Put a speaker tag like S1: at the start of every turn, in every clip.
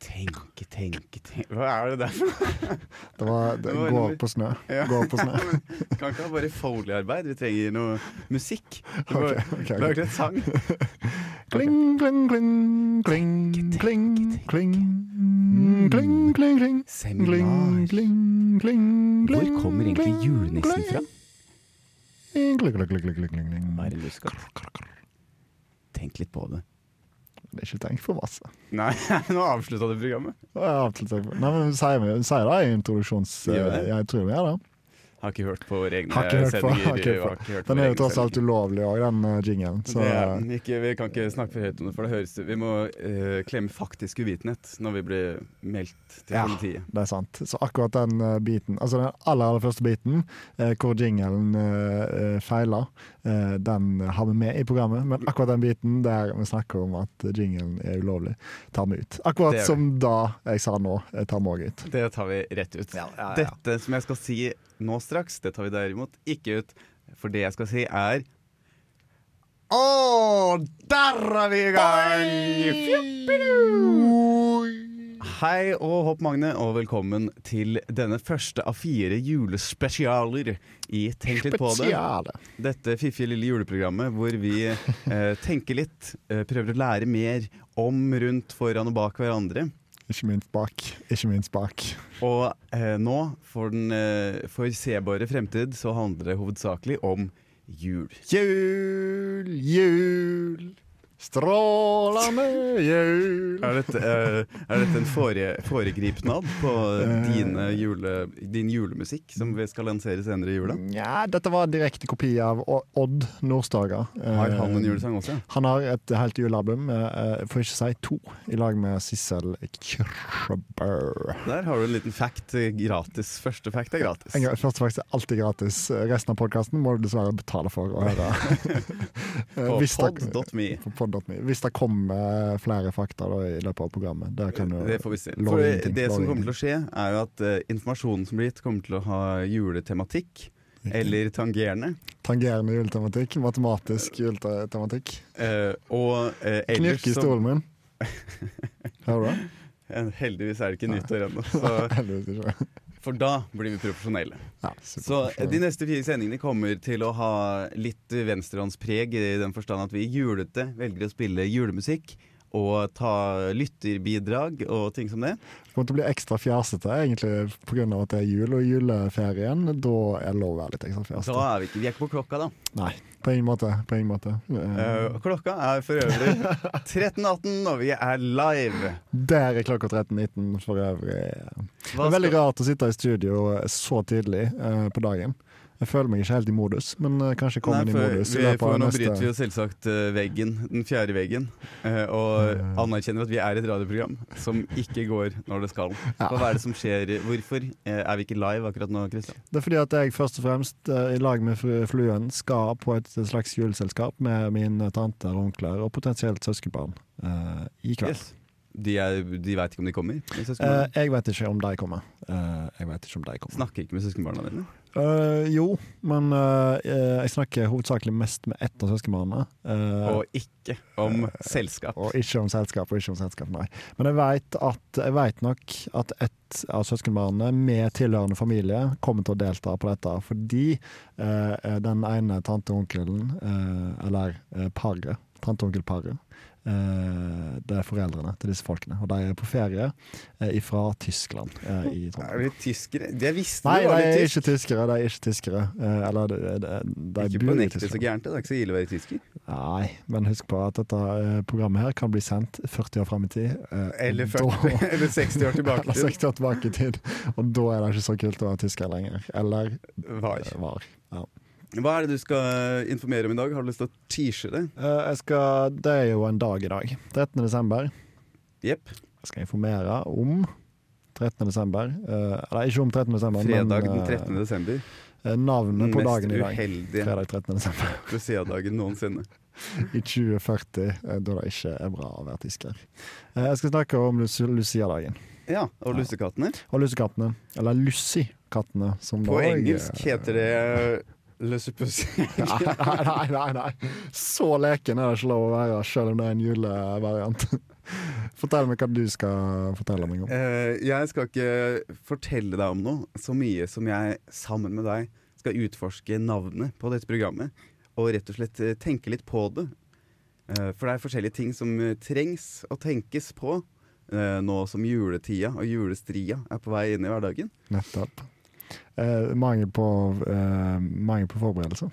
S1: Tenke, tenke, tenke Hva er det der for noe?
S2: Det var det,
S1: Det var
S2: gå
S1: nummer-
S2: opp på snø.
S1: Ja.
S2: Gå opp på snø.
S1: Kan ikke ha bare foliearbeid. Vi trenger noe musikk. Du må
S2: Ok, ok, ok.
S1: Lage litt sang.
S2: Kling, kling, kling, kling,
S1: Tenke,
S2: kling,
S1: tenke,
S2: kling, kling, kling, kling. Kling,
S1: Mm. Seminar.
S2: kling, kling,
S1: Hvor
S2: kling,
S1: kommer egentlig
S2: kling,
S1: julenissen
S2: kling,
S1: fra?
S2: kling, kling, kling, kling, kling, kling, kling.
S1: Bare luskap. Tenk litt på det.
S2: Det er ikke tenkt for masse.
S1: Nei, nå avslutta du programmet.
S2: Ja, jeg har alltid tenkt på- Nei, men sier vi sier det i introduksjons...
S1: Gjør vi det?
S2: Jeg tror vi gjør det.
S1: Har ikke hørt på våre egne
S2: Har ikke hørt på.
S1: sendinger.
S2: Har ikke hørt
S1: og
S2: på.
S1: har ikke hørt på
S2: Den
S1: våre
S2: er jo
S1: egne
S2: tross alt
S1: sendinger.
S2: ulovlig òg, den eh, jinglen. Så
S1: det er, den ikke, vi kan ikke snakke for høyt om det, for det høres Vi må eh, klemme faktisk uvitenhet når vi blir meldt til
S2: Ja.
S1: politiet.
S2: det er sant. Så akkurat den eh, biten, altså den aller, aller første biten, eh, hvor jinglen eh, eh, feiler, eh, den har vi med i programmet. Men akkurat den biten der vi snakker om at jinglen er ulovlig, tar vi ut.
S1: Det
S2: Akkurat
S1: gjør
S2: som da jeg sa nå, eh, tar vi òg ut.
S1: Det tar vi rett ut. Dette som jeg skal si nå straks, det tar vi derimot ikke ut. For det jeg skal si, er Å, der er vi i gang! Fjoppidu! Hei og hopp, Magne, og velkommen til denne første av fire julespesialer i Tenk litt på det.
S2: Spesiale.
S1: Dette fiffige lille juleprogrammet hvor vi eh, tenker litt, eh, prøver å lære mer om, rundt, foran og bak hverandre.
S2: Ikke minst bak. Ikke minst bak.
S1: Og eh, nå, for den eh, forutsigbare fremtid, så handler det hovedsakelig om jul.
S2: Jul, jul, strålende jul.
S1: Er dette, eh, er dette en fore, foregripnad på
S2: Eh.
S1: dine jule, din julemusikk som vi skal lansere senere i jula?
S2: Nja, dette var en direkte kopi av O- Odd Nordstoga.
S1: Har han en
S2: Eh,
S1: julesang også?
S2: Han har et helt julealbum, eh, eh, for ikke å si to, i lag med Sissel Kyrkjebø.
S1: Der har du en liten fact eh, gratis. Første fact er gratis.
S2: En gang- Første faktisk er alltid gratis. Resten av podkasten må du dessverre betale for å høre. Eh,
S1: På
S2: hvis det-
S1: pod.me.
S2: på pod.me. Hvis det kommer eh, flere fakta da, i løpet av programmet. Det kan jo
S1: Det får vi se.
S2: Lov
S1: For
S2: ingenting,
S1: det
S2: lov
S1: som kommer
S2: ingenting.
S1: til å skje, er jo at eh, informasjonen som blir gitt, kommer til å ha juletematikk. Eller tangerende.
S2: Tangerende juletematikk. Matematisk juletematikk.
S1: Eh, og eh, ellers
S2: Knirk i
S1: så
S2: stolen min. Hører du det?
S1: Eh, Heldigvis er det ikke nyttår ennå, så-
S2: Heldigvis ikke.
S1: for da blir vi profesjonelle.
S2: Ja,
S1: Så eh,
S2: superprofesjonell.
S1: de neste fire sendingene kommer til å ha litt venstrehåndspreg, i den forstand at vi julete velger å spille julemusikk. Og ta lytterbidrag og ting som det.
S2: Det kommer til å bli ekstra fjasete egentlig pga. at det er jul og juleferien. Da er det lov å være litt ekstra fjasete.
S1: Da er vi ikke, vi er ikke på klokka, da.
S2: Nei, på ingen måte. På ingen måte. Eh,
S1: Eh, klokka er for øvrig 13.18, og vi er live.
S2: Der er klokka 13.19 for øvrig. Det
S1: Hva
S2: er veldig
S1: skal-
S2: rart å sitte i studio så tidlig eh, på dagen. Jeg føler meg ikke helt i modus, men eh, kanskje jeg kommer inn i
S1: for
S2: modus. i
S1: vi,
S2: løpet av
S1: for nå
S2: neste-
S1: bryter vi jo selvsagt eh, veggen, den fjerde veggen, eh, og anerkjenner at vi er et radioprogram som ikke går når det skal.
S2: Ja.
S1: Hva er det som skjer? Hvorfor eh, er vi ikke live akkurat nå, Kristian?
S2: Det er fordi at jeg først og fremst, eh, i lag med fru- fluen, skal på et slags juleselskap med mine tanter og onkler og potensielt søskenbarn eh, i kveld.
S1: Yes. De, er- de veit ikke om de kommer? de
S2: Eh,
S1: søskenbarna?
S2: jeg vet ikke om de kommer. Eh, jeg vet ikke om de kommer.
S1: Snakker ikke med søskenbarna dine?
S2: Eh, jo, men eh, eh, jeg snakker hovedsakelig mest med ett av søskenbarna. eh,
S1: Og ikke om selskap.
S2: og ikke om selskap, og ikke om selskap, nei. Men jeg vet, at, jeg vet nok at ett av søskenbarna med tilhørende familie kommer til å delta på dette, fordi eh, den ene tante-onkelen, eh, eller eh, paret, tante-onkel-paret, eh, det er foreldrene til disse folkene, og de er på ferie eh, fra Tyskland eh, i Trondheim.
S1: Er de tyskere? Jeg visste
S2: Nei,
S1: det var
S2: de
S1: litt
S2: er
S1: tysk.
S2: ikke tyskere. De er ikke tyskere. Eh, eller de, de, de
S1: Ikke
S2: bor
S1: på
S2: i
S1: nekte så
S2: Tyskland.
S1: gærent, det er ikke så ille å være tysker.
S2: Nei, men husk på at dette eh, programmet her kan bli sendt 40 år fram i tid. eh,
S1: Eller,
S2: og
S1: 40,
S2: da-
S1: eller 60 år tilbake
S2: Eller
S1: til
S2: 60 år tilbake i tid. Og da er det ikke så kult å være tysker lenger. Eller
S1: var.
S2: eh, var. Ja.
S1: Hva er det du skal informere om i dag? Har du lyst til å tease det?
S2: Eh, Jeg skal, det er jo en dag i dag. 13. desember.
S1: Jepp.
S2: Jeg skal informere om 13. desember. Eh, Eller ikke om 13. desember,
S1: Fredag
S2: men
S1: den
S2: eh,
S1: 13. desember.
S2: eh, navnet på
S1: Mest
S2: dagen i dag.
S1: uheldige
S2: Fredag 13. desember
S1: Lucia-dagen noensinne.
S2: i 2040, eh, da det ikke er bra å være tysker. Eh, Jeg skal snakke om Lucia- Lucia-dagen.
S1: Ja, og lussekattene.
S2: Og lussekattene. Eller Lussikattene, som
S1: På
S2: da- eh,
S1: engelsk heter det eh, Løsepussi.
S2: Nei, nei, nei, nei. Så leken er det ikke lov å være, selv om det er en julevariant. Fortell meg hva du skal fortelle meg om.
S1: Eh, jeg skal ikke fortelle deg om noe så mye som jeg sammen med deg skal utforske navnet på dette programmet. Og rett og slett eh, tenke litt på det. Eh, for det er forskjellige ting som eh, trengs å tenkes på eh, nå som juletida og julestria er på vei inn i hverdagen.
S2: Nettopp. Eh, mangel, på, eh, mangel på forberedelser.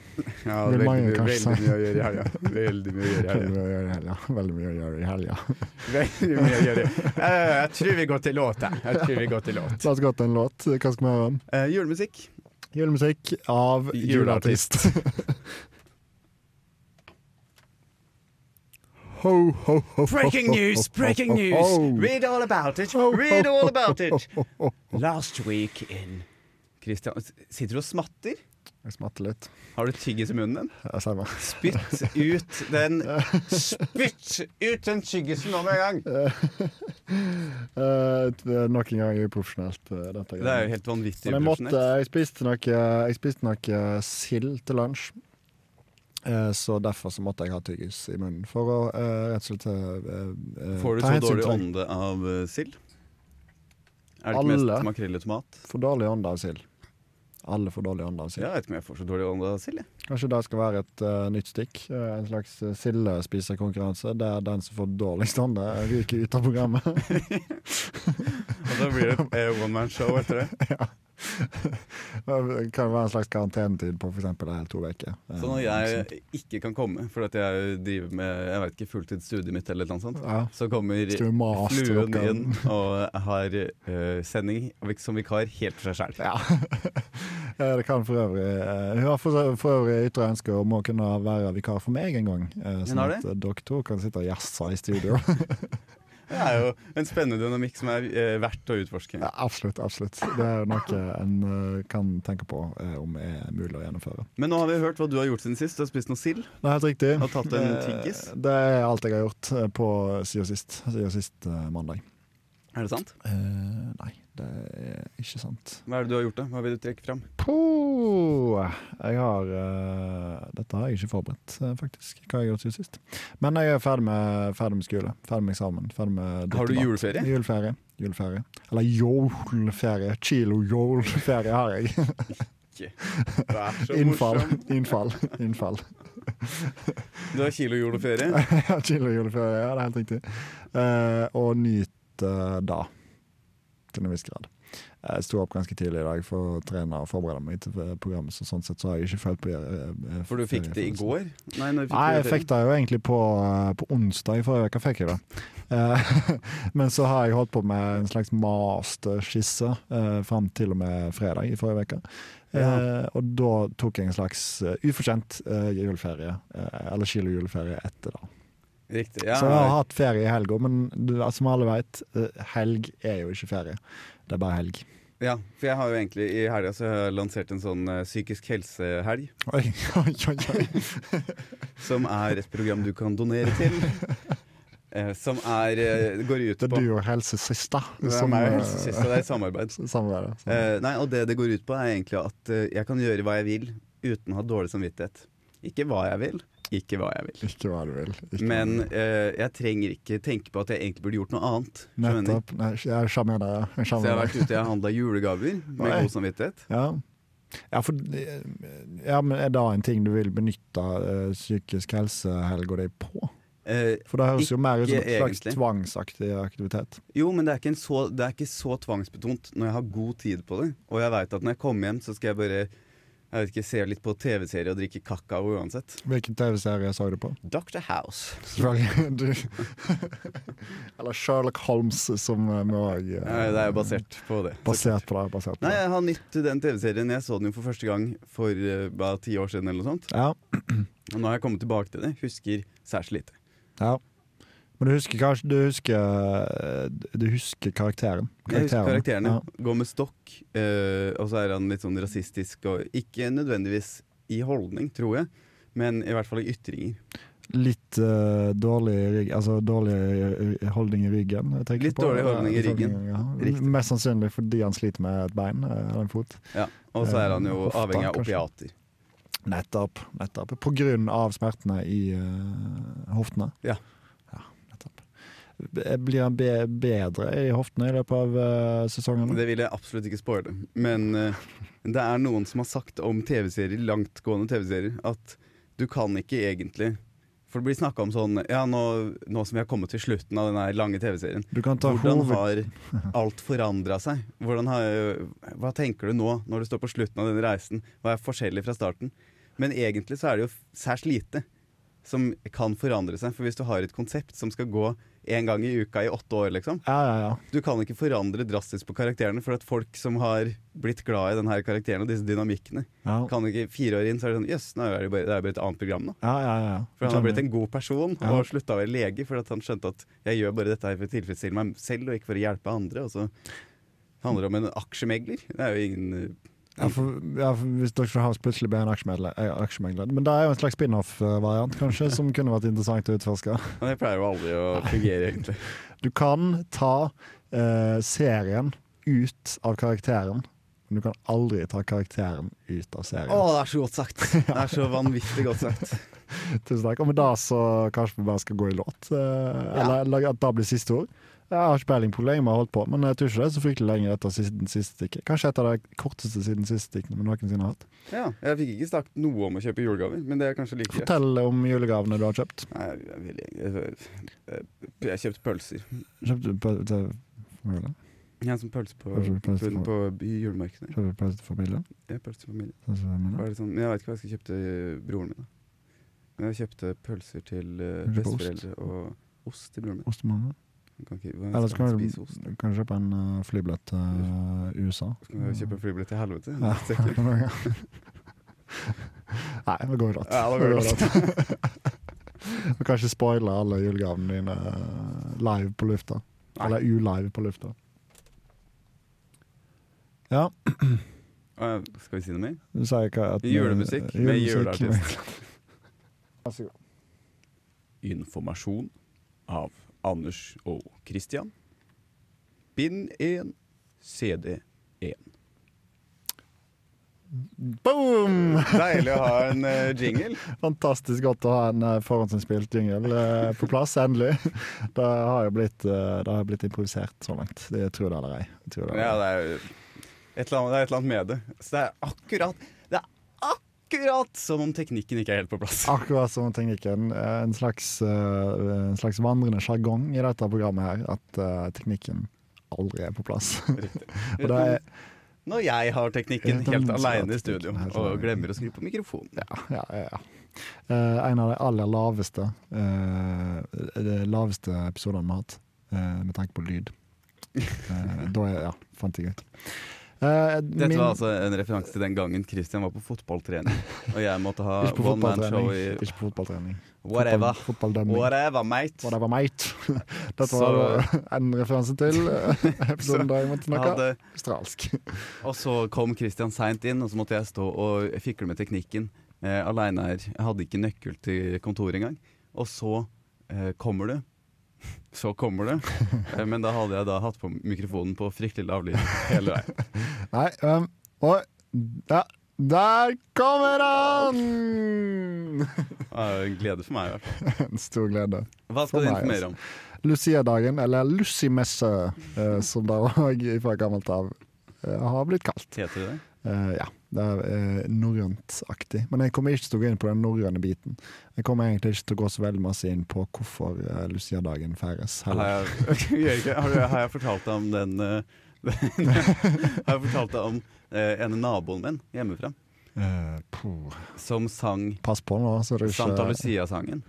S1: Ja,
S2: Vil
S1: veldig,
S2: mange
S1: mye,
S2: kanskje
S1: veldig mye å gjøre i helga. Veldig mye å gjøre i helga.
S2: Veldig mye å gjøre i helga. Veldig mye å gjøre i helga.
S1: Veldig mye å gjøre. Eh, Jeg tror vi går til låt, jeg. Jeg tror vi går til låt.
S2: La oss gå til en låt. Hva skal vi høre om?
S1: Eh, Julemusikk.
S2: Julemusikk av
S1: Juleartist.
S2: juleartist. ho, ho, ho,
S1: Breaking news, breaking
S3: Oh.
S1: news. Read all about it, read all about it. Last week in Christian, s- sitter du og smatter?
S2: Jeg smatter litt.
S1: Har du tyggis i munnen?
S2: Jeg ser meg.
S1: Spytt ut den Spytt ut den tyggisen nå med en gang!
S2: Eh, det er nok en gang uprofesjonelt, eh, dette.
S1: Det er jo helt vanvittig
S2: Men jeg måtte,
S1: uprofesjonelt.
S2: jeg spiste nok, jeg spiste nok eh, sild til lunsj. Eh, Så derfor så måtte jeg ha tyggis i munnen for å eh, rett og slett eh, eh,
S1: Får du
S2: ta
S1: så
S2: hensyn
S1: dårlig
S2: til-
S1: ånde av eh, sild? Er det ikke
S2: Alle.
S1: mest makrell i tomat?
S2: Får dårlig ånde av sild. Alle får dårlig ånde av sild.
S1: Ja, jeg vet ikke om jeg får så dårlig ånde av sild. jeg.
S2: Kanskje det skal være et eh, nytt stikk. eh, en slags eh, sildespiserkonkurranse der den som får dårligst ånde, eh, ryker ut av programmet.
S1: Og så blir det et eh, one man show etter det.
S2: det kan være en slags karantenetid på f.eks. to uker. Eh,
S1: Så når jeg ikke kan komme fordi at jeg driver med jeg vet ikke, fulltidsstudiet mitt eller noe sånt,
S2: Eh, liksom. ja.
S1: så kommer
S2: Skal vi mase til
S1: fluen
S2: dere?
S1: inn og har eh, sending vik- som vikar helt for seg sjæl.
S2: Ja. Eh, Det kan for øvrig eh, Hun har for, for øvrig ytre ønske om å kunne være vikar for meg en gang. eh, Sånn
S1: har
S2: at eh, dere to kan sitte og jazze i studio.
S1: Det er jo en spennende dynamikk som er eh, verdt å utforske.
S2: ja, absolutt. absolutt Det er noe en eh, kan tenke på eh, om er mulig å gjennomføre.
S1: Men nå har vi hørt hva du har gjort siden sist. Du har spist noe sild.
S2: Det er helt riktig.
S1: Har tatt en
S2: Eh,
S1: tyggis?
S2: Det er alt jeg har gjort eh, på siden sist. Siden sist eh, mandag.
S1: Er det sant?
S2: Eh, nei, det er ikke sant.
S1: Hva er det du har gjort, da? Hva vil du trekke fram?
S2: Puh, jeg har eh, Dette har jeg ikke forberedt, eh, faktisk. Hva jeg har gjort siden sist. Men jeg er ferdig med, ferdig med skole. Ferdig med eksamen. Ferdig med
S1: Har du
S2: drittemat.
S1: juleferie?
S2: Juleferie. Juleferie. Eller juleferie. Kilo-juleferie har jeg.
S1: Du er så
S2: Innfall.
S1: morsom.
S2: Innfall. Innfall.
S1: Du har kilo juleferie.
S2: Ja, Kilo-juleferie, ja, det er helt riktig. Eh, og nyt eh, da, til en viss grad. Jeg sto opp ganske tidlig i dag for å trene og forberede meg til eh, programmet, så sånn sett så har jeg ikke følt på eh, eh,
S1: For du fikk det i
S2: feriefølelsen.
S1: går? Nei, når du
S2: Nei, jeg fikk
S1: fikk
S2: det jo egentlig på, eh, på onsdag i forrige uke. fikk jeg det. Eh, Men så har jeg holdt på med en slags masterskisse eh, fram til og med fredag i forrige uke. Eh,
S1: Ja.
S2: Og da tok jeg en slags eh, ufortjent eh, juleferie, eh, eller kilo-juleferie etter det.
S1: Riktig. Ja.
S2: Så jeg har hatt ferie i helga, men du, som alle vet, eh, helg er jo ikke ferie. Det er bare helg.
S1: ja, for jeg har jo egentlig i helga så har jeg lansert en sånn eh, psykisk helse-helg.
S2: Oi, oi, oi, oi.
S1: Som er et program du kan donere til. Eh, som er eh, går ut
S2: Det
S1: på
S2: er du og helsesista
S1: Det er
S2: som
S1: meg og
S2: eh,
S1: helsesøster, det er i samarbeid.
S2: samarbeider. Så-
S1: Eh, nei, og det det går ut på, er egentlig at eh, jeg kan gjøre hva jeg vil uten å ha dårlig samvittighet. Ikke hva jeg vil, ikke hva jeg vil.
S2: Ikke hva du vil. Ikke hva du
S1: Men
S2: vil.
S1: eh, jeg trenger ikke tenke på at jeg egentlig burde gjort noe annet. skjønner du?
S2: Nettopp. Nei, jeg skjønner det. ja. Jeg
S1: Så jeg har
S2: skjønner det.
S1: vært ute og handla julegaver med
S2: Nei.
S1: god samvittighet.
S2: Ja. Ja, for, ja, men er det en ting du vil benytte eh, psykisk helse-helga di på?
S1: Eh,
S2: For det høres jo mer ut som
S1: Ikke
S2: en slags
S1: egentlig.
S2: tvangsaktig aktivitet.
S1: jo, men det er, ikke en så, det er ikke så tvangsbetont når jeg har god tid på det. Og jeg veit at når jeg kommer hjem, så skal jeg bare jeg vet ikke, se litt på TV-serie og drikke kakao uansett.
S2: Hvilken TV-serie så du på?
S1: Dr. House.
S2: Selvfølgelig. Du. Eller Sherlock Holmes, som eh, vi òg
S1: Eh, det er jo basert på det. så
S2: Basert på det. Basert på
S1: Nei,
S2: det.
S1: jeg har nytt den TV-serien. Jeg så den jo for første gang for eh, bare ti år siden. eller noe sånt
S2: Ja,
S1: Og nå har jeg kommet tilbake til det. Husker særs lite.
S2: ja. Men du husker kanskje Du husker, eh, du husker karakteren?
S1: Jeg husker
S2: Karakterene.
S1: karakterene. Går med stokk, eh, og så er han litt sånn rasistisk. Og ikke nødvendigvis i holdning, tror jeg, men i hvert fall i ytringer.
S2: Litt eh, dårlig, rygg, altså, dårlig eh, holdning i ryggen. jeg tenker
S1: Litt
S2: på.
S1: dårlig holdning i
S2: Litt
S1: ryggen.
S2: holdning,
S1: Riktig.
S2: Ja. Mest sannsynlig fordi han sliter med et bein eh, eller en fot.
S1: Ja, Og så er han jo
S2: Eh, hofta,
S1: avhengig av
S2: kanskje.
S1: opiater.
S2: Nettopp. nettopp. På grunn av smertene i eh, hoftene?
S1: Ja.
S2: Ja, nettopp. B- Blir han be bedre i hoftene i løpet av eh, sesongen?
S1: Det vil jeg absolutt ikke spoile. Men eh, det er noen som har sagt om TV-serier, langtgående TV-serier, at du kan ikke egentlig For det blir snakka om sånn Ja, nå, nå som vi har kommet til slutten av den her lange TV-serien,
S2: Du kan ta
S1: hvordan
S2: hoved...
S1: har alt forandra seg? Hvordan har, hva tenker du nå, når du står på slutten av denne reisen? Hva er forskjellig fra starten? Men egentlig så er det jo særs lite som kan forandre seg. For hvis du har et konsept som skal gå én gang i uka i åtte år, liksom,
S2: Ja, ja, ja.
S1: du kan ikke forandre drastisk på karakterene, for at folk som har blitt glad i denne karakteren og disse dynamikkene,
S2: ja.
S1: kan ikke fire år inn så er det sånn Jøss, nå er det, bare, det er bare et annet program nå.
S2: Ja, ja, ja.
S1: For han har blitt en god person
S2: Ja.
S1: og slutta å være lege fordi at han skjønte at jeg gjør bare dette her for å tilfredsstille meg selv og ikke for å hjelpe andre. Og så handler det om en aksjemegler. Det er jo ingen eh,
S2: ja, for, ja, for Hvis Dr. House plutselig ble en aksjemedle- eh, aksjemegler. Men det er jo en slags spin-off-variant, kanskje, som kunne vært interessant å utforske.
S1: Men det pleier jo aldri å fungere, egentlig.
S2: Du kan ta eh, serien ut av karakteren, men du kan aldri ta karakteren ut av serien.
S1: Å, det er så godt sagt! Det er så vanvittig godt sagt.
S2: Tusen takk. Og med det så kanskje vi bare skal gå i låt? eh, Eller eller at det blir siste ord? Jeg har ikke peiling på hvor lenge vi har holdt på, men jeg tror ikke det er så fryktelig lenge etter siste, siste stikket. Kanskje et av de korteste siden siste stikkene vi noensinne har hatt.
S1: Ja, jeg fikk ikke snakket noe om å kjøpe julegaver, men det er kanskje like greit.
S2: Fortell om julegavene du har kjøpt.
S1: Nei, jeg, vil egentlig- jeg, jeg kjøpte pølser.
S2: Kjøpte du pøl- til familien?
S1: Jeg er som pølse på,
S2: Pølse- pølse
S1: på,
S2: på-
S1: på by- julemarkedet.
S2: Kjøpte du pølse til familien?
S1: Jeg er pølse på familie.
S2: Sånn som
S1: Hva
S2: familien?
S1: er det sånn? Jeg veit ikke hva jeg skal kjøpe til eh, broren min. da. Men jeg kjøpte pølser til eh,
S2: Kjøper ost.
S1: besteforeldre og ost til broren min.
S2: Ostemamma?
S1: Han kan ikke hva,
S2: Eller så
S1: skal
S2: kan
S1: han
S2: du
S1: spise ost.
S2: kan du kjøpe en eh, flybillett til eh, USA.
S1: Så kan jeg kjøpe en flybillett til helvete.
S2: Ja.
S1: Det er sikkert.
S2: Nei, det går godt.
S1: Ja, det går
S2: Og kanskje spoile alle julegavene dine eh, live på lufta.
S1: Nei.
S2: Eller ulive på lufta. Ja,
S1: Ah, ja, Skal vi si noe mer?
S2: du sier ikke at
S1: Julemusikk med juleartist.
S2: Vær så god.
S1: Informasjon av Anders og Christian. Bind 1, CD
S2: Boom!
S1: Deilig å ha en eh, jingle.
S2: Fantastisk godt å ha en eh, forhåndsinnspilt jingle eh, på plass, endelig. Det har jo blitt, eh, det har blitt improvisert så langt. Det tror jeg det eller ei. Jeg tror det eller
S1: Ja,
S2: ei.
S1: det er jo et eller annet, det er et eller annet med det. Så det er akkurat Det er akkurat som om teknikken ikke er helt på plass.
S2: Akkurat som teknikken. eh, En slags, eh, en slags vandrende sjargong i dette programmet her, at eh, teknikken aldri er på plass. Og det er,
S1: Når jeg har teknikken
S2: Ja,
S1: helt
S2: den-
S1: aleine i studio
S2: helt
S1: og
S2: alene.
S1: glemmer å skru på mikrofonen.
S2: ja, ja, ja, ja. Eh, En av de aller laveste, eh, de laveste episodene vi har hatt, eh, med tanke på lyd. Eh, Da er, ja, fant jeg ut. Eh,
S1: Dette
S2: min-
S1: var altså en referanse til den gangen Christian var på fotballtrening, og jeg måtte ha
S2: Ikke på
S1: one man show i
S2: fotballtrening. Ikke på fotballtrening.
S1: whatever.
S2: Fotball- fotballdømming.
S1: Whatever, mate.
S2: Whatever, mate. Dette
S1: Så-
S2: var da en referanse til eh, episoden da jeg måtte snakke
S1: Hadde,
S2: australsk.
S1: og så kom Christian seint inn, og så måtte jeg stå og fikle med teknikken eh, aleine her. Jeg hadde ikke nøkkel til kontoret engang. Og så eh, kommer du. Så kommer du. Eh, men da hadde jeg da hatt på mikrofonen på fryktelig lav lyd hele veien.
S2: Nei, um, og ja, der kommer han!
S1: Det var jo en glede for meg. i hvert fall.
S2: En stor glede.
S1: Hva skal
S2: For
S1: du
S2: meg, altså.
S1: informere om?
S2: Lucia-dagen, eller Lucy-messe, eh, som det òg fra gammelt av eh, har blitt kalt.
S1: Heter det det?
S2: Eh, ja, det er uh, norrøntaktig. Men jeg kommer ikke til å gå inn på den norrøne biten. Jeg kommer egentlig ikke til å gå så veldig masse inn på hvorfor eh, Lucia-dagen feires. heller.
S1: Har jeg, gjør ikke, har, du, har jeg fortalt deg om den eh, den- Har jeg fortalt deg om eh, en av naboen min hjemmefra
S2: Eh, puh.
S1: som sang
S2: Pass på nå, så det er ikke
S1: Santa Lucia-sangen?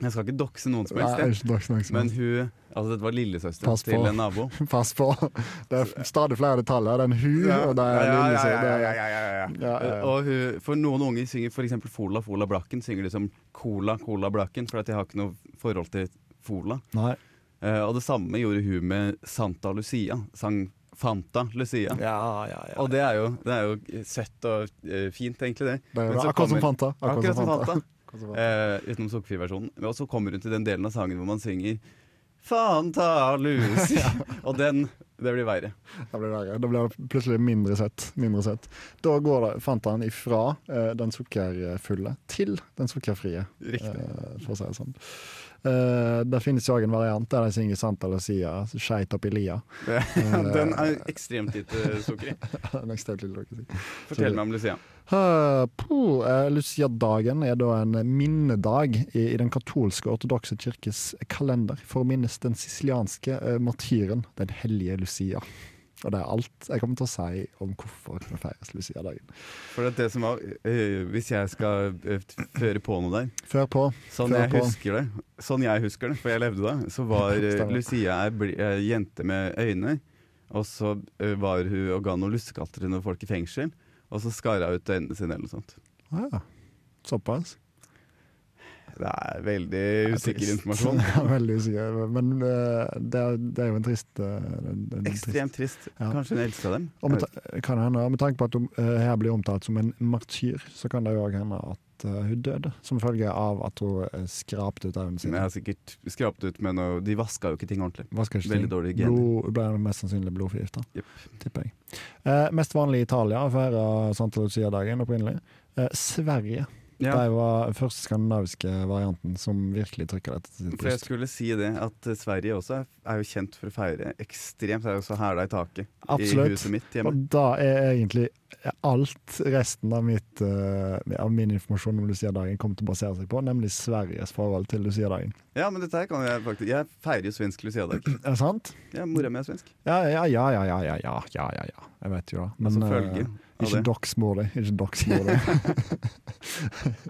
S1: Jeg skal ikke dokse noen som
S2: Nei,
S1: helst, jeg.
S2: ikke nok snakk
S1: Men hun Altså, dette var lillesøsteren
S2: Pass på.
S1: til en nabo.
S2: Pass på. Det er stadig flere detaljer. Det er en hu, og det er en
S1: Ja,
S2: lille
S1: ja,
S2: sø.
S1: ja,
S2: det er-
S1: ja, ja, ja, ja.
S2: Ja, ja, ja.
S1: Og hun, for noen unger synger f.eks. Fola Fola Blakken synger de som Cola Cola Blakken, for at de har ikke noe forhold til Fola.
S2: Nei.
S1: Eh, og det samme gjorde hun med Santa Lucia. Sang Fanta Lucia.
S2: Ja, ja, ja.
S1: Og det er, jo, det er jo søtt og eh, fint, egentlig, det.
S2: Det er
S1: Men
S2: jo
S1: så
S2: akkurat som
S1: kommer-
S2: Fanta.
S1: Akkurat som Fanta.
S2: Akkurat som Fanta.
S1: Eh, utenom sukkerfriversjonen. Og så kommer hun til den delen av sangen hvor man synger Faen ta lus! Og den Det blir verre.
S2: Da blir det verre. Da blir det plutselig mindre søtt. Mindre søtt. Da går det, fant han ifra eh, den sukkerfulle til den sukkerfrie,
S1: Riktig.
S2: eh, for å si det sånn. Eh, det finnes jo òg en variant der de synger Santa Lucia, skeit oppi lia.
S1: Den er ekstremt lite sukker i.
S2: Den er ekstremt lille, dere sier.
S1: Fortell meg om Lucia.
S2: Eh, puh, eh, Lucia-dagen er da en minnedag i, i den katolske ortodokse kirkes kalender for å minnes den sicilianske eh, martyren, den hellige Lucia. Og det er alt jeg kommer til å si om hvorfor det feires Lucia-dagen.
S1: For at det som var øh, Hvis jeg skal øh, føre på noe der
S2: Før på
S1: Sånn
S2: Før
S1: jeg
S2: på.
S1: husker det, sånn jeg husker det, for jeg levde da, så var øh,
S2: Stemmer.
S1: Lucia ei bli- ei jente med øyne. Og så øh, var hun og ga noen lussekatter til noen folk i fengsel. Og så skar hun ut øynene sine eller noe sånt.
S2: ah, Såpass.
S1: Det er veldig usikker
S2: Trist.
S1: informasjon.
S2: Ja, Veldig usikker. Men eh, det, er, det er jo en trist, eh, en, en trist
S1: Ekstremt trist.
S2: Ja.
S1: Kanskje hun elska dem.
S2: Og med, ta- kan det hende, og med tanke på at hun eh, her blir omtalt som en martyr, så kan det jo òg hende at eh, hun døde som følge av at hun eh, skrapte ut armen sin.
S1: Men jeg har sikkert skrapt ut med noe De vaska jo ikke ting ordentlig.
S2: Vasker ikke
S1: Veldig
S2: ting.
S1: dårlige gener.
S2: Blod ble mest sannsynlig blodforgifta,
S1: Jep.
S2: tipper jeg. Eh, mest vanlig i Italia å feire Santa Lucia-dagen opprinnelig. Eh, Sverige.
S1: Ja,
S2: De var eh, første skandinaviske varianten som virkelig trykka dette til sitt
S1: for jeg
S2: bryst.
S1: skulle si det, at eh, Sverige også er, er jo kjent for å feire ekstremt. Det er jo så hæla i taket i
S2: Absolutt.
S1: huset mitt hjemme.
S2: Og da er egentlig alt resten av, mitt, eh, av min informasjon om Lucia-dagen kommer til å basere seg på, nemlig Sveriges forhold til Lucia-dagen.
S1: Ja, men dette her kan jeg faktisk Jeg feirer jo svensk luciadag.
S2: Er det sant?
S1: Ja, mora mi er svensk.
S2: Ja, ja, ja, ja, ja, ja, ja, ja, ja, ja. Jeg vet jo det. Men,
S1: Som
S2: eh,
S1: altså følge av
S2: Ikke
S1: det.
S2: doksmor di. Ikke doksmor di.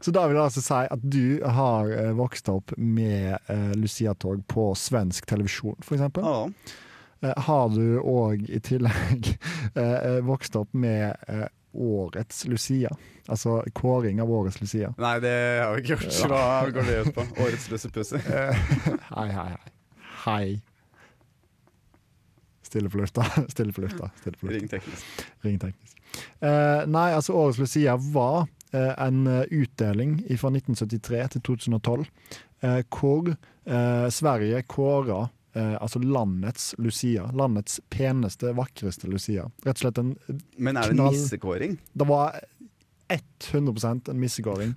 S2: Så da vil det altså si at du har eh, vokst opp med eh, Lucia-tog på svensk televisjon, f.eks.
S1: Ja,
S2: Eh, Har du òg i tillegg eh, vokst opp med eh, årets Lucia? Altså kåring av årets Lucia.
S1: Nei, det har vi ikke gjort. Hva går det ut på? Årets løsepusse.
S2: Eh. Hei, hei, hei. Hei. Stille på lufta. Stille på lufta. Stille på lufta.
S1: Ring teknisk.
S2: Ring teknisk. Eh, nei, altså Årets Lucia var eh, en eh, utdeling fra 1973 til 2012, eh, hvor eh, Sverige kåra eh, altså landets Lucia. Landets peneste, vakreste Lucia. Rett og slett en
S1: Men er det en
S2: Knall.
S1: nissekåring?
S2: det var 100 en missegåring.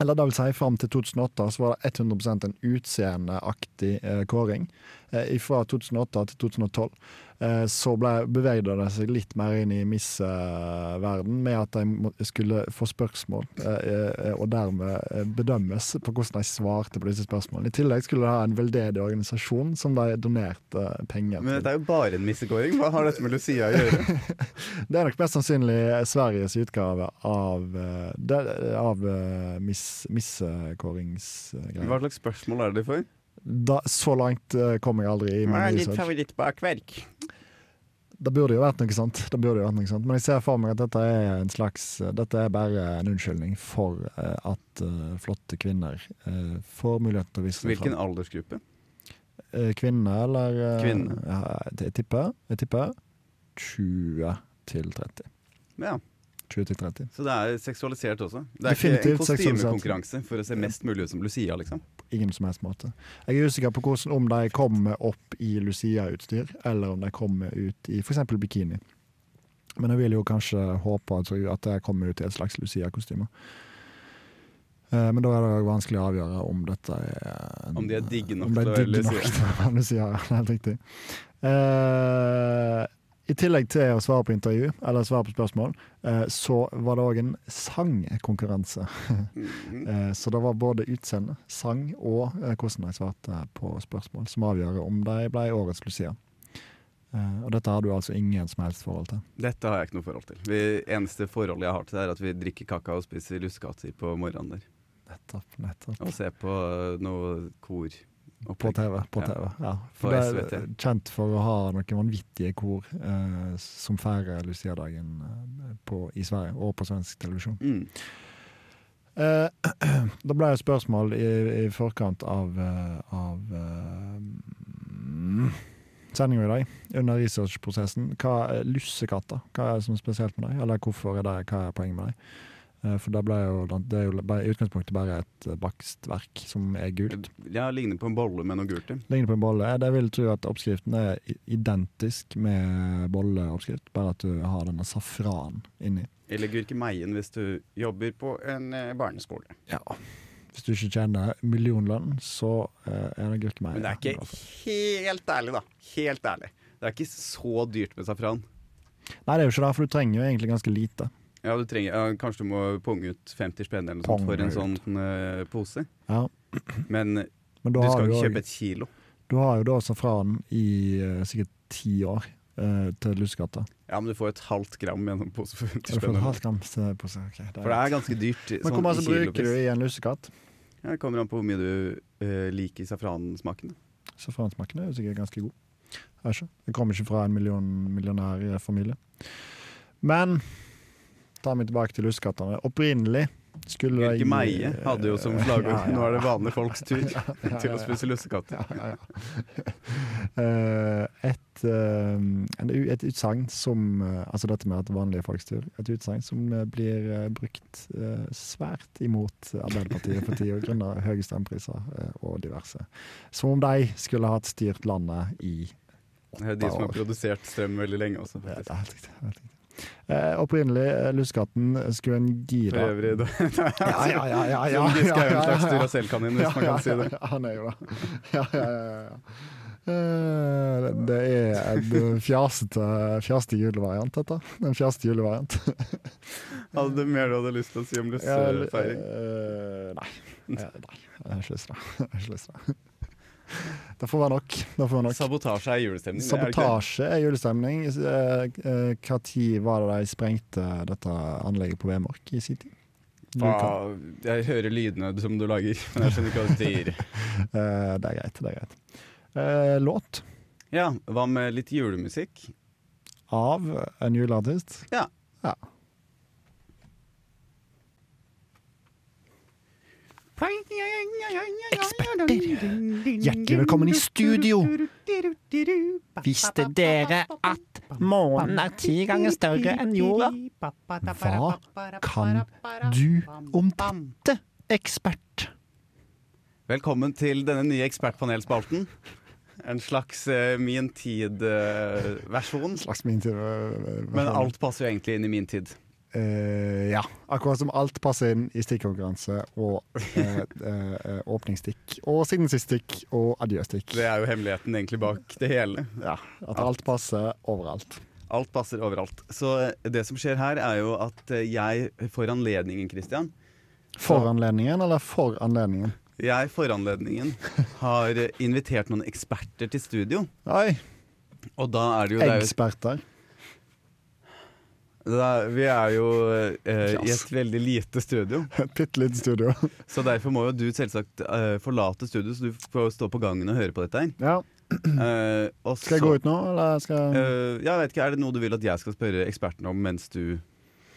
S2: Eller det vil si, fram til 2008 så var det 100 en utseendeaktig eh, kåring. Eh, fra 2008 til 2012 eh, så ble, bevegde det seg litt mer inn i misseverden med at de må, skulle få spørsmål, eh, eh, og dermed eh, bedømmes på hvordan de svarte på disse spørsmålene. I tillegg skulle de ha en veldedig organisasjon som de donerte eh, penger
S1: Men
S2: til.
S1: dette er jo bare en nissekåring. Hva har dette med Lucia å gjøre?
S2: Det er nok mest sannsynlig Sveriges utgave av, eh, det- av eh, miss, missekåringsgreier.
S1: Hva slags spørsmål er det for?
S2: Da- Så langt eh, kom jeg aldri i min research.
S1: favorittbakverk?
S2: Det burde jo vært noe sånt. Det burde jo vært noe sånt. Men jeg ser for meg at dette er en slags eh, Dette er bare en unnskyldning for eh, at eh, flotte kvinner eh, får mulighet til å vise seg
S1: Hvilken
S2: fram.
S1: aldersgruppe?
S2: Eh, Kvinne, eller eh,
S1: Kvinne.
S2: Ja, jeg tipper, jeg tipper 20 til 30.
S1: Ja,
S2: 20 til 30.
S1: Så det er seksualisert også? Det er
S2: Definitivt
S1: ikke en kostymekonkurranse for å se mest mulig ut som Lucia, liksom?
S2: ingen som helst måte. Jeg er usikker på hvordan, om de kommer opp i Lucia-utstyr, eller om de kommer ut i f.eks. bikini. Men jeg vil jo kanskje håpe og tro at de kommer ut i et slags Lucia-kostyme. Eh, Men da er det jo vanskelig å avgjøre om dette er en,
S1: Om de er digge nok
S2: om de er
S1: til å være
S2: digge nok
S1: Lucia.
S2: til å være Lucia. ja, Helt riktig. Eh, I tillegg til å svare på intervju, eller svare på spørsmål, eh, så var det òg en sangkonkurranse.
S1: Mhm.
S2: Eh, Så det var både utseende, sang og eh, hvordan de svarte på spørsmål, som avgjør om de ble årets Lucia. Eh, Og dette har du altså ingen som helst forhold til.
S1: Dette har jeg ikke noe forhold til. Det eneste forholdet jeg har til det, er at vi drikker kakao og spiser lussekatter på morgenen der.
S2: Nettopp, nettopp.
S1: Og ser på eh, noe kor.
S2: På TV. på
S1: Ja.
S2: TV, ja.
S1: På
S2: For det
S1: SVT.
S2: er kjent for å ha noen vanvittige kor eh, som feirer Lucia-dagen eh, på- i Sverige, og på svensk televisjon.
S1: Mm.
S2: Eh, Da ble det spørsmål i, i forkant av, eh, av sendinga i dag, under researchprosessen. Hva er lussekatter? Hva er det som er spesielt med dem? Eller hvorfor er det, hva er poenget med dem? Eh, For det, ble jo, det er jo bare, i utgangspunktet bare et eh, bakstverk som er gult.
S1: Ja, ligner på en bolle med noe gult i.
S2: Ligner på en bolle. Jeg det vil jeg tro at oppskriften er i- identisk med bolleoppskrift, bare at du har denne safran inni.
S1: Eller gurkemeien hvis du jobber på en eh, barneskole.
S2: Ja. Hvis du ikke tjener millionlønn, så eh, er det gurkemeie.
S1: Men det er
S2: altså.
S1: ikke helt ærlig, da. Helt ærlig. Det er ikke så dyrt med safran.
S2: Nei, det er jo ikke det, for du trenger jo egentlig ganske lite.
S1: Ja, du trenger, ja, kanskje du må punge ut 50 spenn eller noe sånt for en sånn
S2: Punge
S1: eh, pose.
S2: Ja.
S1: Men du
S2: Men da
S1: skal
S2: har du,
S1: ikke
S2: jo-
S1: kjøpe et kilo.
S2: du har jo da safran i eh, sikkert ti år eh, til lusekata.
S1: Ja, men du får et halvt gram gjennom en sånn pose for 50
S2: Du får
S1: spenn.
S2: et halvt gram til pose. Ok, det er
S1: For det er ganske dyrt.
S2: Men hvor
S1: sånn
S2: mye
S1: i
S2: bruker du
S1: kilopris.
S2: i en lusekatt?
S1: Ja, det kommer an på hvor mye du eh, liker safransmaken.
S2: Safransmaken er jo sikkert ganske god. Jeg vet ikke. Jeg kommer ikke fra en million, millionærfamilie. Men ta meg tilbake til lussekattene. Opprinnelig skulle de-
S1: Gurkemeie hadde jo som slagord
S2: Ja, ja.
S1: 'Nå er det vanlige folks tur
S2: ja,
S1: til å
S2: ja.
S1: spise lussekatter'.
S2: Ja, ja, ja. Eh, et eh, en u- et utsagn som eh, Altså dette med at vanlige folks tur. Et utsagn som eh, blir eh, brukt eh, svært imot Arbeiderpartiet for tida grunnet høye strømpriser eh, og diverse. Som om de skulle hatt styrt landet i
S1: Det er jo de som har
S2: år.
S1: produsert strøm veldig lenge også,
S2: Ja, det
S1: faktisk.
S2: er helt riktig. det er Helt riktig. Eh, opprinnelig, eh, lussekatten skulle en
S1: For
S2: gira
S1: øvrig, da.
S2: Ja, ja, ja, ja, ja,
S1: Trond Giske er jo
S2: ja,
S1: en
S2: ja,
S1: slags
S2: ja.
S1: Duracell-kanin, hvis man kan si det.
S2: Ja, ja, han er jo det. Ja, ja, ja, ja. Eh, det- Det er den fjasete, fjasete julevariant, dette. Den fjasete julevariant.
S1: Hadde du mer du hadde lyst til å si om lussefeiring?
S2: eh, nei. Eh, nei. Jeg har ikke lyst til det. Jeg har ikke lyst til det. Det får være nok. Det får være nok.
S1: Sabotasje er julestemning. det er det ikke det?
S2: Sabotasje er julestemning. Når var det de sprengte dette anlegget på Vemork i sin tid? Luka.
S1: Ah, jeg hører lydene som du lager, men jeg skjønner ikke hva du sier.
S2: Eh, Det er greit. det er greit. Eh, Låt
S1: Ja, hva med litt julemusikk?
S2: av en juleartist.
S1: Ja.
S2: Ja.
S3: Hjertelig velkommen i studio. Visste dere at månen er ti ganger større enn jorda? Hva
S2: kan du om dette, ekspert?
S1: Velkommen til denne nye Ekspertpanelspalten. En slags eh, Min tid-versjon.
S2: Slags min tid. eh,
S1: Men alt passer jo egentlig inn i min tid.
S2: Eh, ja. Akkurat som alt passer inn i stikkonkurranse og eh, eh, eh, åpningsstikk og siden sist-stikk og adjø-stikk.
S1: Det er jo hemmeligheten egentlig bak det hele.
S2: Ja, at alt passer overalt.
S1: Alt passer overalt. Så eh, det som skjer her, er jo at eh, jeg får anledningen, Christian.
S2: For anledningen, eller for anledningen?
S1: Jeg for anledningen har eh, invitert noen eksperter til studio.
S2: Oi,
S1: Og da er det jo, det er jo
S2: eksperter.
S1: da, Vi er jo eh, i
S2: Klass.
S1: et veldig lite studio,
S2: Et bitte lite studio.
S1: så derfor må jo du selvsagt eh, forlate studio, så du får jo stå på gangen og høre på dette her.
S2: Ja.
S1: Eh, og
S2: Skal
S1: så-
S2: jeg gå ut nå, eller skal jeg
S1: Eh, jeg vet ikke, Er det noe du vil at jeg skal spørre ekspertene om mens du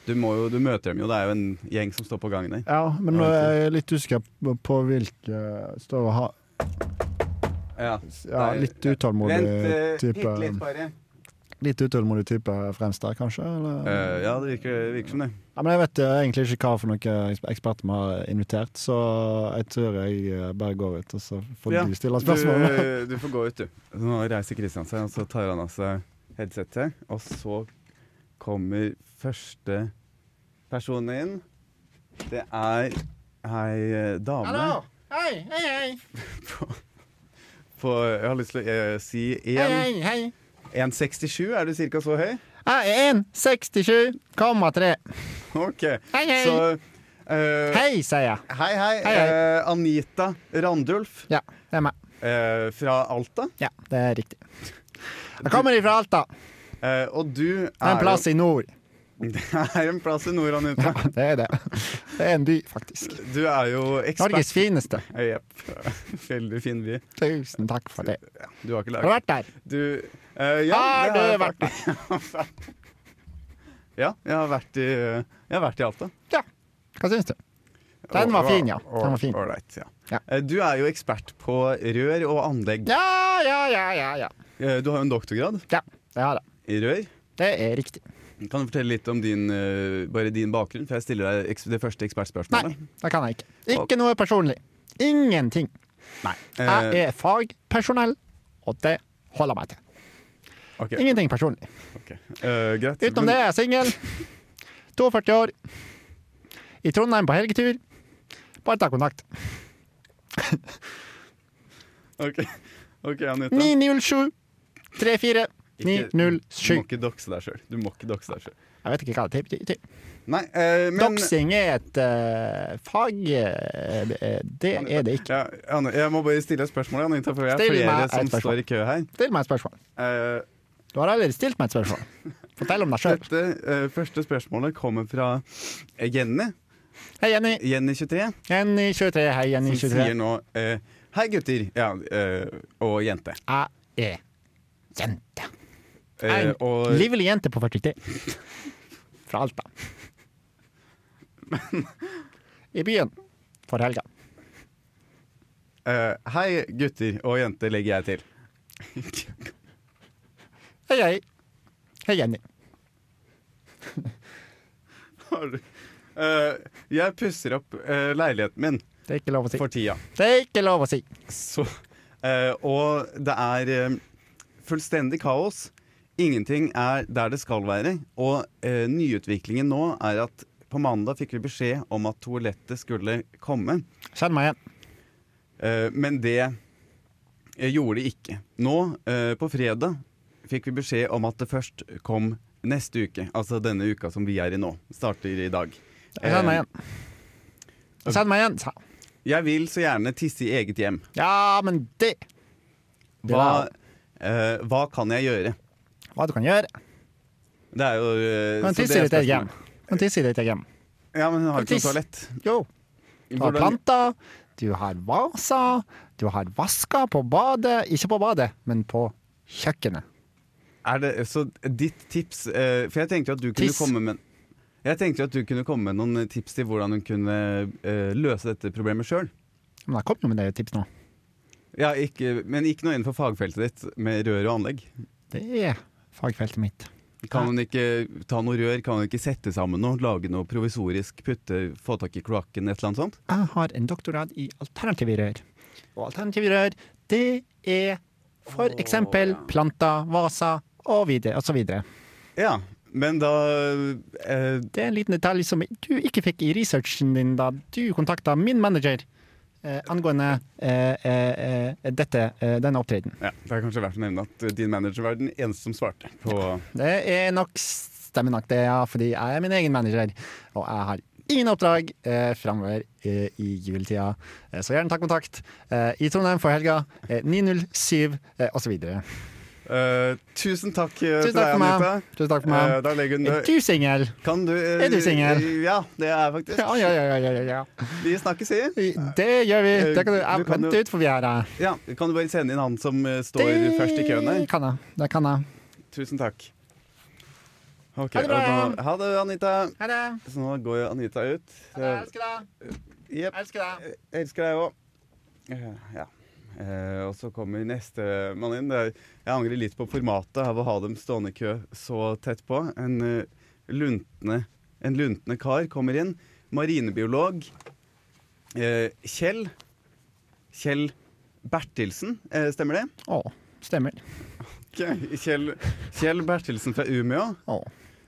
S1: Du, må jo, du møter dem jo, det er jo en gjeng som står på gangen her.
S2: Ja, men nå er jeg litt usikker på- på hvilke Står og har
S1: Ja.
S2: ja,
S1: Nei,
S2: Litt
S1: ja.
S2: utålmodig
S1: bitte litt
S2: type
S1: bare.
S2: Litt utålmodig type fremst der, kanskje? Eller?
S1: Eh, ja, det virker, det virker som det.
S2: Ja, men jeg vet eh, egentlig ikke hva for noen eks- eksperter vi har invitert, så jeg tror jeg eh, bare går ut, og så får
S1: Ja,
S2: du stille spørsmål.
S1: Du, eh, du får gå ut, du. Nå reiser Kristian seg, og så tar han av seg headsetet. Og så kommer første person inn. Det er ei eh, dame
S3: Hei, hei, hei.
S1: på Jeg har lyst til å eh, si en- 1,67. Er du ca. så høy?
S3: Jeg er 1,67,3.
S1: OK.
S3: Hei, hei.
S1: Så eh,
S3: Hei, sier jeg.
S1: Hei, hei.
S3: Hei, hei.
S1: Eh, Anita Randulf
S3: Ja, det er meg.
S1: eh, fra Alta.
S3: Ja, det er riktig. Jeg kommer ifra Alta.
S1: Eh, og du
S3: Det er en
S1: er
S3: plass i nord.
S1: jo Det er en plass i nord, Anita.
S3: Det er det. Det er en by, faktisk.
S1: Du er jo ekspert
S3: Norges fineste.
S1: Eh, Jepp. Veldig fin by.
S3: Tusen takk for det.
S1: Du har ikke
S3: Har du
S1: lært
S3: vært der?
S1: Du eh, ja, det
S3: Har du
S1: jeg
S3: vært
S1: faktisk. ja, jeg har vært i, jeg har vært i Alta.
S3: Ja. Hva syns du? Den var fin, ja. Den var fin.
S1: Ålreit. Ja.
S3: Ja.
S1: Eh, Du er jo ekspert på rør og anlegg.
S3: Ja, ja, ja, ja. ja.
S1: Eh, Du har jo en doktorgrad
S3: Ja, det har jeg.
S1: i rør.
S3: Det er riktig.
S1: Kan du fortelle litt om din, eh, bare din bakgrunn, før jeg stiller deg eks- det første ekspertspørsmålet?
S2: Det kan jeg ikke. Ikke noe personlig. Ingenting.
S1: Nei. eh.
S2: Jeg er fagpersonell, og det holder jeg meg til.
S1: ok,
S2: Ingenting personlig.
S1: ok. Eh, greit.
S2: Utenom det er jeg singel. 42 år. I Trondheim på helgetur. Bare ta kontakt.
S1: Ok, Ok, Anita.
S2: 907 34
S1: Ikke-
S2: 907.
S1: Du må ikke dokse deg sjøl. Du må ikke dokse deg sjøl.
S2: Jeg vet ikke hva det betyr.
S1: Nei, eh, men
S2: Doxing er et eh, fag eh, Det er det ikke.
S1: ja, Anne, Jeg må bare stille et spørsmål, Anita, for jeg er
S2: Still meg
S1: flere
S2: et
S1: som
S2: spørsmål.
S1: står i kø her.
S2: Still meg et spørsmål.
S1: Eh,
S2: Du har allerede stilt meg et spørsmål. Fortell om deg sjøl.
S1: dette eh, første spørsmålet kommer fra eh, Jenny.
S2: Hei, Jenny.
S1: Jenny23,
S2: Jenny 23. Hei, Jenny
S1: som
S2: 23.
S1: sier nå eh, Hei, gutter. Ja, eh, og jente.
S2: Jeg er jente.
S1: Eh,
S2: En
S1: og
S2: livlig jente på 43. Fra Alta. I byen. For helga.
S1: eh, Hei, gutter og jente, legger jeg til.
S2: Hei, hei. Hei, Jenny.
S1: Har du- Eh, jeg pusser opp eh, leiligheten min
S2: Det er ikke lov å si.
S1: for tida.
S2: Det er ikke lov å si.
S1: Så, eh, og det er eh, fullstendig kaos. Ingenting er der det skal være. Og eh, nyutviklingen nå er at på mandag fikk vi beskjed om at toalettet skulle komme,
S2: Kjenn meg igjen.
S1: eh, men det eh, gjorde det ikke. Nå, eh, på fredag, fikk vi beskjed om at det først kom neste uke. Altså denne uka som vi er i nå. Starter i dag. Eh,
S2: Kjenn meg igjen. Kjenn meg igjen, sa han.
S1: Jeg vil så gjerne tisse i eget hjem.
S2: Ja, men det Det
S1: Hva,
S2: var-
S1: eh, hva kan jeg gjøre?
S2: Hva du kan gjøre?
S1: Det er jo eh,
S2: Men
S1: så det
S2: tisse i
S1: er
S2: ditt eget hjem.
S1: spørsmålet.
S2: Men tisse i ditt eget hjem.
S1: Ja, men hun har ikke noe
S2: Tiss.
S1: toalett.
S2: Jo. Du har
S1: Hvordan-
S2: planter, du har vaser, du har vasker på badet. Ikke på badet, men på kjøkkenet.
S1: Er det, så ditt tips eh, For jeg tenkte jo at du kunne
S2: Tiss.
S1: komme med Jeg tenkte jo at du kunne komme med noen eh, tips til hvordan hun kunne eh, løse dette problemet sjøl.
S2: Men jeg kom jo med det tipset nå.
S1: Ja, ikke- men ikke noe innenfor fagfeltet ditt med rør og anlegg.
S2: Det er fagfeltet mitt.
S1: Kan hun ikke ta noe rør, kan hun ikke sette sammen noe, lage noe provisorisk, putte, få tak i kloakken, et eller annet sånt?
S2: Jeg har en doktorgrad i alternative rør. Og alternative rør, det er for eksempel planter, vaser og videre, og så videre.
S1: Ja, men da eh,
S2: Det er en liten detalj som du ikke fikk i researchen din da du kontakta min manager eh, angående eh, eh, eh, dette, eh, denne opptredenen.
S1: ja, Det er kanskje verdt å nevne at din manager var den eneste som svarte på
S2: Det er nok stemmer nok det, ja, fordi jeg er min egen manager. Og jeg har ingen oppdrag eh, framover eh, i juletida. Eh, så gjerne ta kontakt eh, i Trondheim for helga. Eh, 907 eh, osv.
S1: Eh, Tusen takk eh,
S2: Tusen
S1: til
S2: takk
S1: deg,
S2: for meg.
S1: Anita.
S2: Tusen takk for
S1: Eh,
S2: meg.
S1: da legger hun
S2: Er du singel?
S1: Kan du eh,
S2: Er du singel?
S1: Ja, det er jeg faktisk.
S2: Ja, ja, ja, ja, ja, ja.
S1: Vi snakkes, sier
S2: Det gjør vi. Det kan du,
S1: Du
S2: jeg
S1: Eh, kan jo-
S2: venter utenfor vi er her.
S1: ja, Kan du bare sende inn han som eh, står
S2: Det
S1: først i køen her?
S2: kan jeg. Det kan jeg.
S1: Tusen takk. Ok,
S2: Ha det
S1: og
S2: bra.
S1: nå- ha det, Anita.
S2: Ha det.
S1: Så nå går jo Anita ut.
S2: Ha det. Jeg elsker deg.
S1: Jepp.
S2: Jeg elsker deg.
S1: Jeg Eh, Elsker deg òg. Ja. Eh, og så kommer neste mann inn. Det er- Jeg angrer litt på formatet av å ha dem stående i kø så tett på. En, eh, luntne, en luntne kar kommer inn. Marinebiolog. Eh, Kjell. Kjell Bertilsen, eh, stemmer det?
S2: Å, stemmer.
S1: Ok, Kjell, Kjell Bertilsen fra Umeå.
S2: Å.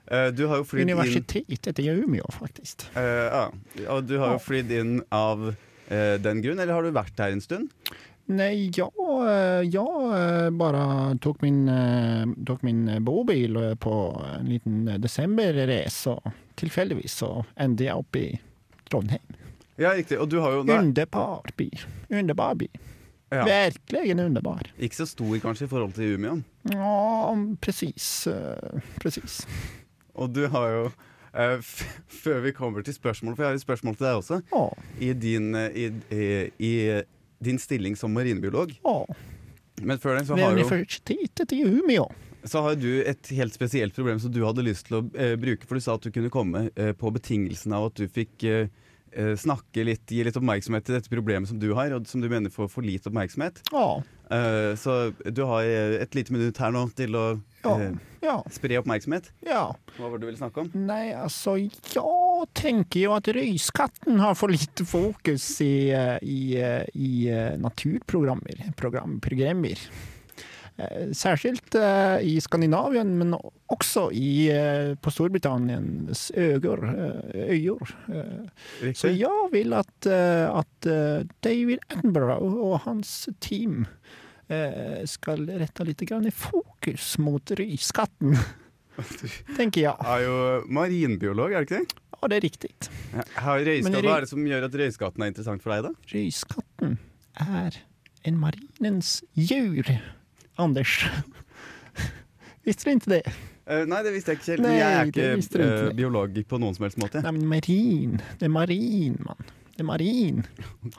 S1: Eh, du har jo flydd inn
S2: Universitetet i Umeå, faktisk.
S1: eh, ja, Og du har jo flydd inn av eh, den grunn, eller har du vært her en stund?
S2: Nei, ja, eh, ja eh, bare tok min, eh, tok min eh, bobil eh, på en liten eh, desemberrace, og tilfeldigvis så endte jeg opp i Trondheim.
S1: Ja, riktig. Og du har jo
S2: Underbar by. Underbar by.
S1: Ja.
S2: Virkelig underbar.
S1: Ikke så stor kanskje i forhold til Umeå.
S2: Ja, presis. eh, presis.
S1: Og du har jo eh, f Før vi kommer til spørsmål, for jeg har et spørsmål til deg også.
S2: Å,
S1: I din, eh, i, i, i din stilling som marinebiolog.
S2: å.
S1: Men før den så
S2: Ved
S1: har, jo,
S2: universitetet i Umeå.
S1: så har du et helt spesielt problem som du hadde lyst til å eh, bruke. For du sa at du kunne komme eh, på betingelsen av at du fikk eh, eh, snakke litt, gi litt oppmerksomhet til dette problemet som du har, og som du mener får for lite oppmerksomhet.
S2: Å,
S1: Eh, så du har eh, et lite minutt her nå til å
S2: Ja,
S1: eh,
S2: ja,
S1: spre oppmerksomhet.
S2: ja.
S1: Hva var det du ville snakke om?
S2: Nei, altså, jeg tenker jo at Røyskatten har for lite fokus i, eh, i, eh, i eh, naturprogrammer. Program, programmer. Eh, Særskilt eh, i Skandinavien, men også i, eh, på Storbritanniens øyer. eh, øyer. Eh, Så
S1: Riktig.
S2: jeg vil at, eh, at eh, David Attenborough og hans team eh, skal rette litt grann i fokus mot Røyskatten, tenker jeg.
S1: Er jo marinbiolog, er det ikke det?
S2: Ja, det er riktig.
S1: Ja, Har
S2: Men
S1: røyskatt,
S2: røy-
S1: Hva er det som gjør at røyskatten er interessant for deg, da?
S2: Røyskatten er en marinens djur, Anders. Visste du ikke det?
S1: Eh, nei, det visste jeg ikke selv. Men
S2: Nei,
S1: jeg er
S2: det visste
S1: ikke
S2: du ikke.
S1: eh, biolog på noen som helst måte.
S2: Nei, men marin. Det er marin, mann. Det er marin.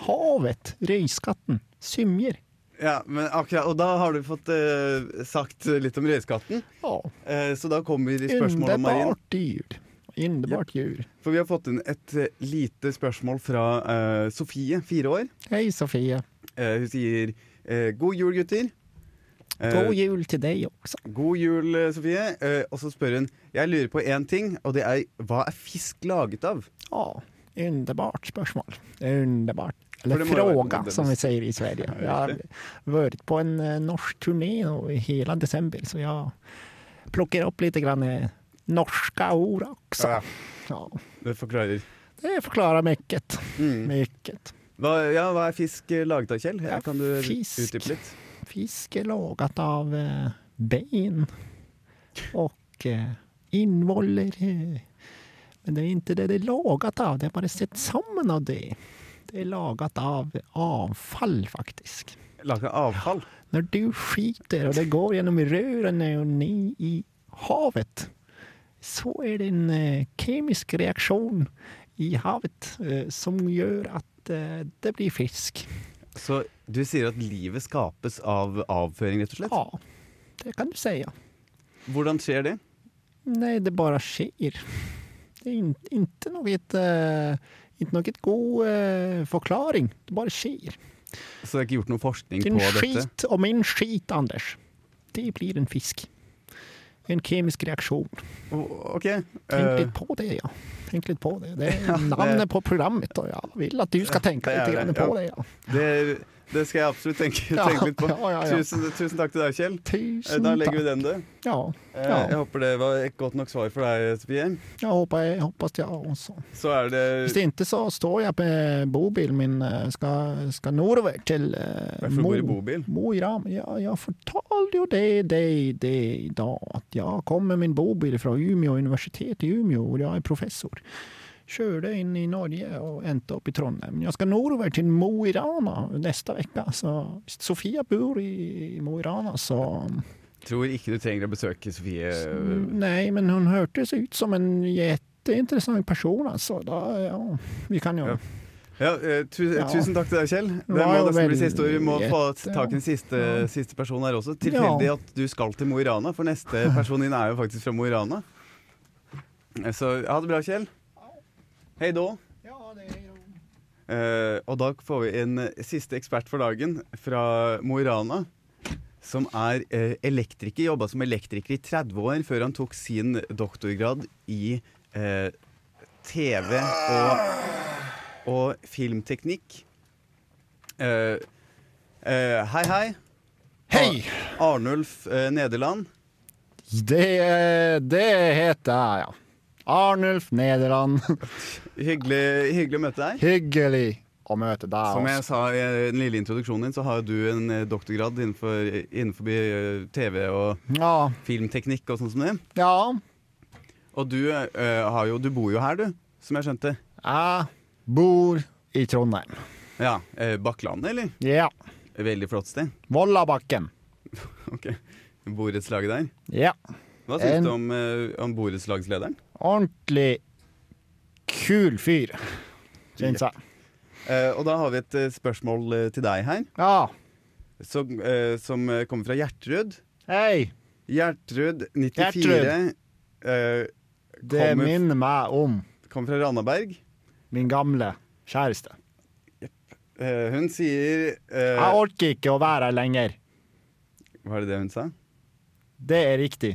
S2: Havet. Røyskatten. Symjer.
S1: Ja, men akkurat, Og da har du fått eh, sagt litt om røyskatten.
S2: Ja.
S1: Eh, så da kommer spørsmålet om marin.
S2: Underbart dyr. Underbart djur.
S1: For vi har fått inn et eh, lite spørsmål fra eh, Sofie, fire år.
S2: Hei, Sofie.
S1: Eh, hun sier eh, 'God jul, gutter'. Eh,
S2: God jul til deg også.
S1: God jul, eh, Sofie. Eh, og så spør hun Jeg lurer på én ting, og det er hva er fisk laget av?
S2: Ja. Underbart spørsmål. Underbart.
S1: For
S2: Eller
S1: det må jo være
S2: fråga,
S1: den-
S2: som vi sier i Sverige. Jeg har vært på en eh, norsk turné nå i hele desember, så jeg plukker opp litt grann eh, norska ord også.
S1: Ja.
S2: Ja,
S1: Det forklarer.
S2: det forklarer mye.
S1: Mm.
S2: Mycket.
S1: Hva, ja, hva er fisk eh, laget av, Kjell?
S2: Ja,
S1: kan du
S2: fisk.
S1: utdype litt?
S2: Fisk er laget av eh, ben og eh, innvoller. eh. Men det er ikke det det er laget av, det er bare sett sammen av det. Det er laget av avfall, faktisk.
S1: Laget av avfall?
S2: Når du skiter, og det går gjennom rørene og ned i havet, så er det en eh, kemisk reaksjon i havet eh, som gjør at eh, det blir fisk.
S1: Så du sier at livet skapes av avføring, rett og slett?
S2: Ja, det kan du si. ja.
S1: Hvordan skjer det?
S2: Nei, det bare skjer. Det er in- ikke noe eh, ikke noe god eh, forklaring. Det bare skjer.
S1: Så det er ikke gjort noe forskning
S2: Din
S1: på dette?
S2: skit og min skit, Anders. Det blir en fisk. En kemisk reaksjon.
S1: O- Ok.
S2: Tenk
S1: eh,
S2: litt på det, ja. Tenk litt på det. Det er
S1: Ja, det-
S2: navnet på programmet, og jeg vil at du skal tenke
S1: det er
S2: litt grann
S1: det,
S2: på
S1: ja. Eh,
S2: det.
S1: det,
S2: Ja.
S1: det skal jeg absolutt tenke,
S2: Ja,
S1: tenke litt på.
S2: ja, ja, ja.
S1: Tusen, tusen takk til deg, Kjell. Eh,
S2: Tusen
S1: Da legger
S2: takk.
S1: vi den død.
S2: Ja.
S1: Eh,
S2: ja.
S1: Jeg håper det var et godt nok svar for deg, Sofie.
S2: Jeg håper jeg håper at jeg også.
S1: Så er det
S2: Hvis det ikke, så står jeg med bobilen min eh, skal, skal nordover til eh,
S1: Hvorfor
S2: Mo.
S1: bor du i bobil?
S2: Mo i Rana. Ja, jeg fortalte jo det, det, det i dag, at jeg kom med min bobil fra Umeå universitet i Umeå, hvor jeg er professor. Kjørte inn i Norge og endte opp i Trondheim. Jeg skal nordover til Mo i Rana neste uke, så hvis Sofia bor i Mo i Rana, så
S1: Tror ikke du trenger å besøke Sofie. eh,
S2: Nei, men hun hørtes ut som en jätteinteressant person, altså. Da, ja, vi kan jo
S1: Ja. Ja, eh, tu
S2: Ja.
S1: Tusen takk til deg, Kjell. Det
S2: var
S1: må
S2: jo
S1: nesten bli
S2: veldig
S1: siste ord. Vi må
S2: gjett,
S1: få tak i en siste,
S2: Ja.
S1: siste person her også. Tilfeldig at du skal til Mo i Rana, for neste person din er jo faktisk fra Mo i Rana. Eh, Så ha det bra, Kjell. Hei då.
S2: Ja, det er jo
S1: Eh, og da får vi en eh, siste ekspert for dagen fra Mo i Rana. Som er eh, elektriker. Jobba som elektriker i 30 år før han tok sin doktorgrad i eh, TV og, og filmteknikk. Eh, eh, hei, hei.
S2: Hei!
S1: Arnulf eh, Nederland.
S2: Det, det heter jeg, ja. Arnulf Nederland.
S1: Hyggelig, hyggelig å møte deg.
S2: Hyggelig å møte deg.
S1: Som jeg
S2: også.
S1: sa i eh, den lille introduksjonen din, så har jo du en eh, doktorgrad innenfor, innenfor eh, TV og
S2: Ja,
S1: filmteknikk og sånn som det.
S2: ja.
S1: Og du, eh, har jo, du bor jo her, du, som jeg skjønte.
S2: Jeg bor i Trondheim.
S1: Ja, eh, Bakklandet, eller?
S2: Ja.
S1: Veldig flott sted.
S2: Vollabakken.
S1: Ok, Borettslaget der.
S2: Ja.
S1: Hva syns
S2: En-
S1: du om, eh, om borettslagslederen?
S2: Ordentlig kul fyr, syns jeg.
S1: Eh, og da har vi et eh, spørsmål eh, til deg her,
S2: Ja.
S1: som, eh, som eh, kommer fra Gjertrud.
S2: Hei,
S1: Gjertrud, 94,
S2: Gjertrud.
S1: eh,
S2: det
S1: Kommer-
S2: minner meg om
S1: kommer fra Randaberg.
S2: min gamle kjæreste.
S1: Eh, hun sier eh,
S3: Jeg orker ikke å være her lenger.
S1: Var det det hun sa?
S3: Det er riktig.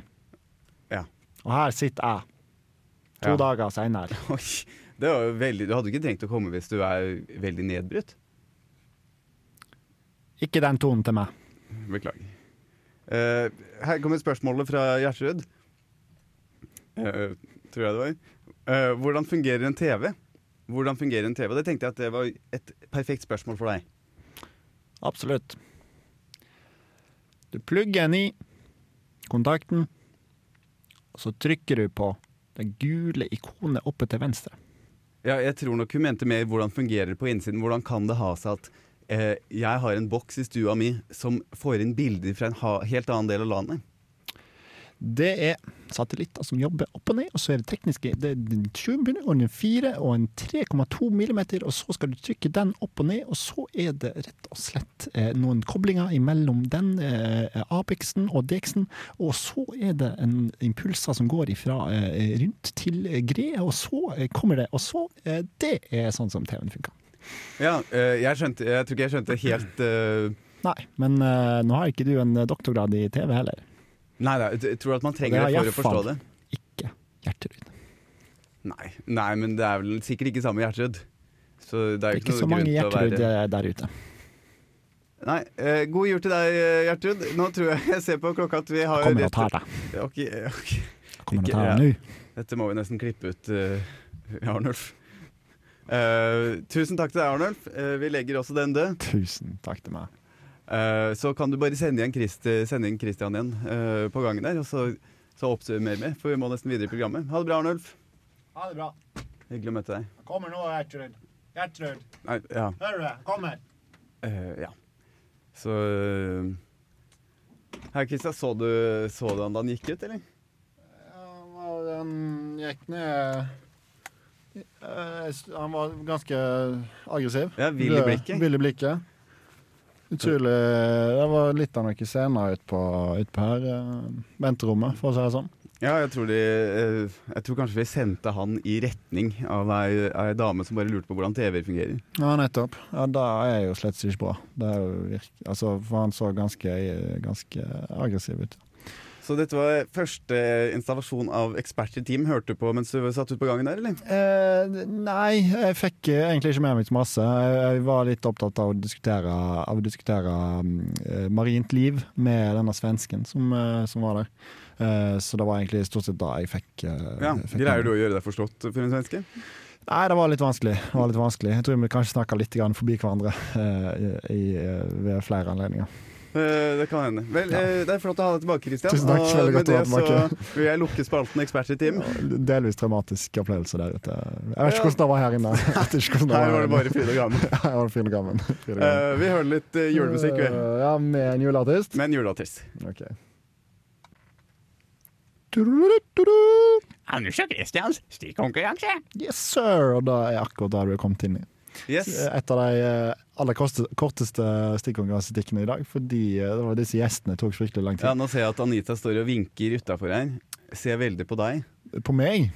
S1: Ja.
S3: Og her sitter jeg, to
S1: Ja.
S3: dager seinere.
S1: Oi, det var jo veldig, du hadde ikke trengt å komme hvis du er veldig nedbrutt.
S3: Ikke den tonen til meg.
S1: Beklager. Eh, her kommer spørsmålet fra Gjersrud. Eh, tror jeg det var. Eh, hvordan fungerer en TV? Hvordan fungerer en TV? Det tenkte jeg at det var et perfekt spørsmål for deg.
S3: Absolutt. Du plugger den i kontakten, og så trykker du på det gule ikonet oppe til venstre.
S1: Ja, jeg tror nok hun mente mer hvordan fungerer det på innsiden. Hvordan kan det ha seg at eh, jeg har en boks i stua mi som får inn bilder fra en ha helt annen del av landet?
S3: Det er satellitter som jobber opp og ned, og så er det tekniske Det er den 7 millimeter, og den 4 og en 3,2 millimeter, og så skal du trykke den opp og ned, og så er det rett og slett eh, noen koblinger mellom den eh, apexen og dexen, og så er det en impulser som går ifra eh, rundt til eh, greie, og så eh, kommer det, og så eh, Det er sånn som TV-en funker.
S1: Ja, eh, jeg, skjønte, jeg tror ikke jeg skjønte helt eh,
S3: Nei, men eh, nå har ikke du en doktorgrad i TV heller.
S1: Nei, nei, jeg tror at man
S3: Det
S1: trenger
S3: har
S1: det for
S3: jeg
S1: å forstå
S3: faen.
S1: det.
S3: Ikke hjerteryd.
S1: Nei, nei, men det er vel sikkert ikke samme Gjersrud. Så det
S3: Det
S1: er
S3: er
S1: jo ikke,
S3: ikke så
S1: noe grunn
S3: mange
S1: til å
S3: hjerteryd
S1: være
S3: eh, der ute.
S1: Nei, eh, god jul til deg, eh, Gjertrud. Nå tror jeg jeg ser på klokka at vi har
S3: Kommer og tar deg.
S1: Ok, eh, ok.
S3: Kommer
S1: Ikke-
S3: og tar
S1: ja.
S3: deg nå.
S1: Dette må vi nesten klippe ut, eh, Arnulf. Eh, tusen takk til deg, Arnulf. Eh, vi legger også den død.
S2: Tusen takk til meg.
S1: Eh, så kan du bare sende igjen, Christ, sende inn Christian igjen eh, på gangen der, og så, så oppsummerer vi, for vi må nesten videre i programmet. Ha det bra, Arnulf.
S3: Ha det bra.
S1: Hyggelig å møte deg.
S3: Jeg kommer nå, Gjertrud. Gjertrud,
S1: Nei, ja.
S3: hører du? Jeg kommer.
S1: Eh, ja. Så eh, Herr Kristian, så du, så du han da han gikk ut, eller?
S2: Den gikk ned Eh, Han var ganske aggressiv.
S1: Ja, vill i
S2: Rød-
S1: blikket.
S2: Vill i blikket. Utrolig Det var litt av noen scener ute på, ut på her. eh, Venterommet, for å si det sånn.
S1: Ja, jeg tror, de, eh, jeg tror kanskje vi sendte han i retning av ei, ei dame som bare lurte på hvordan TV-er fungerer.
S2: Ja, nettopp. Ja, Det er jo slett ikke bra. Det er jo virk... altså, for han så ganske, ganske aggressiv ut.
S1: Så dette var første installasjon av Eksperter Team. Hørte du på mens du satt ute på gangen der, eller?
S2: Eh, nei, jeg fikk eh, egentlig ikke med meg så masse. Jeg, jeg var litt opptatt av å diskutere, av å diskutere mm, eh, marint liv med denne svensken som, eh, som var der. Eh, så det var egentlig stort sett da jeg fikk, eh,
S1: Ja,
S2: fikk
S1: Greier du å gjøre deg forstått for en svenske?
S2: Nei, det var litt vanskelig. Det var litt vanskelig. Jeg tror vi kanskje snakka litt grann forbi hverandre eh, i, i, eh, ved flere anledninger.
S1: Eh, Det kan hende. Vel, eh, Det er flott å ha deg tilbake, Christian.
S2: Tusen takk,
S1: Og med
S2: veldig godt å
S1: det
S2: være tilbake.
S1: så vil jeg lukke spalten Eksperter Team.
S2: Delvis traumatisk opplevelse der ute. Jeg vet
S1: Ja.
S2: ikke hvordan det var her inne. Jeg vet ikke hvordan
S1: Her var
S2: her
S1: det bare Frida Gamme.
S2: inne. Her var det Fride Gammen. Fride Gammen.
S1: Eh, Vi hører litt eh, julemusikk, vi.
S2: Eh, Ja, med en juleartist.
S1: Med en juleartist.
S2: Ok.
S4: Anders og Christians stikkonkurranse.
S2: Yes, sir! Og da er akkurat der du er kommet inn i.
S1: Yes.
S2: Et av de eh, aller korte- korteste stikkonkurransestikkene i dag, fordi eh, det var disse gjestene tok fryktelig lang
S1: Ja,
S2: tid.
S1: nå ser jeg at Anita står og vinker utafor her. Ser veldig på deg.
S2: På meg?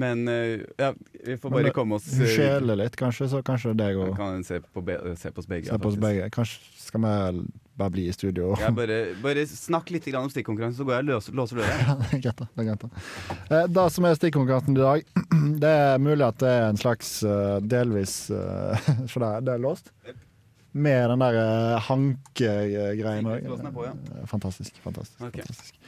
S1: Men eh, ja, vi får
S2: Men
S1: bare
S2: det-
S1: komme oss
S2: Hun skjeler litt, kanskje, så kanskje
S1: Jeg
S2: deg og
S1: Kan se på, be se på oss begge. ja,
S2: se på oss
S1: faktisk.
S2: begge. Kanskje skal vi bare bli i studio?
S1: Jeg bare, bare snakk litt grann om stikkonkurransen, så går jeg og løs, låser døra.
S2: Ja, det er greit, da. det. er greit da. Eh, Det som er stikkonkurransen i dag, det er mulig at det er en slags eh, delvis eh, For det er, det er låst. Med den der eh, hankegreien òg.
S1: Sikkerhetslåsen er på, ja.
S2: Fantastisk. fantastisk,
S1: Ok.
S2: fantastisk.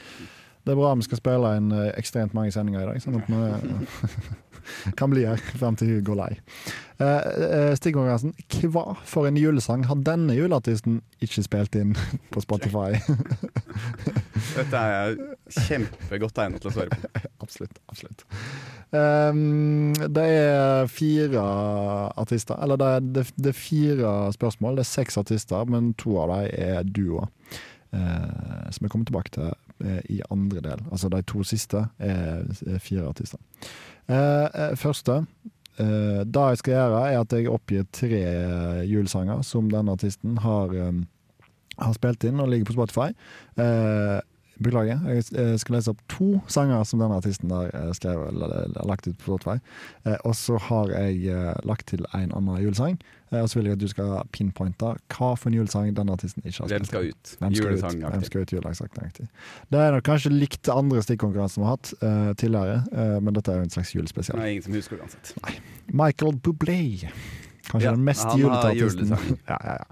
S2: Det er bra vi skal spille inn eh, ekstremt mange sendinger i dag, sånn at vi eh, kan bli her frem til hun går lei. Eh, eh, Stikkonkurransen Hva for en julesang har denne juleartisten ikke spilt inn på Spotify?
S1: Dette er jeg kjempegodt egnet til å svare på.
S2: Absolutt. absolutt. Ehm, det er fire artister Eller det er, det, det er fire spørsmål. Det er seks artister, men to av dem er duoer. eh, som jeg kommer tilbake til eh, i andre del. Altså de to siste er, er fire artister. Eh, eh, første eh, Det jeg skal gjøre, er at jeg oppgir tre eh, julesanger som denne artisten har, eh, har spilt inn og ligger på Spotify. Eh, Beklager. Jeg eh, skal lese opp to sanger som denne artisten har eh, skrevet eller eller lagt ut på Spotify. Eh, Og så har jeg eh, lagt til en annen julesang. Eh, Og så vil jeg at du skal pinpointe hva for en julesang denne artisten ikke har
S1: Hvem
S2: spilt.
S1: skal ut?
S2: Hvem skal ut? Hvem
S1: Julesangaktig.
S2: skal ut julesangsaktig? Det er nok kanskje likt andre stikkonkurranser vi har hatt eh, tidligere, eh, men dette er jo en slags
S1: Det
S2: julespesial.
S1: er ingen som husker det uansett.
S2: Michael Bublé. Kanskje
S1: Ja,
S2: den mest
S1: han har
S2: julete artisten.
S1: julesanger.
S2: ja, ja, ja.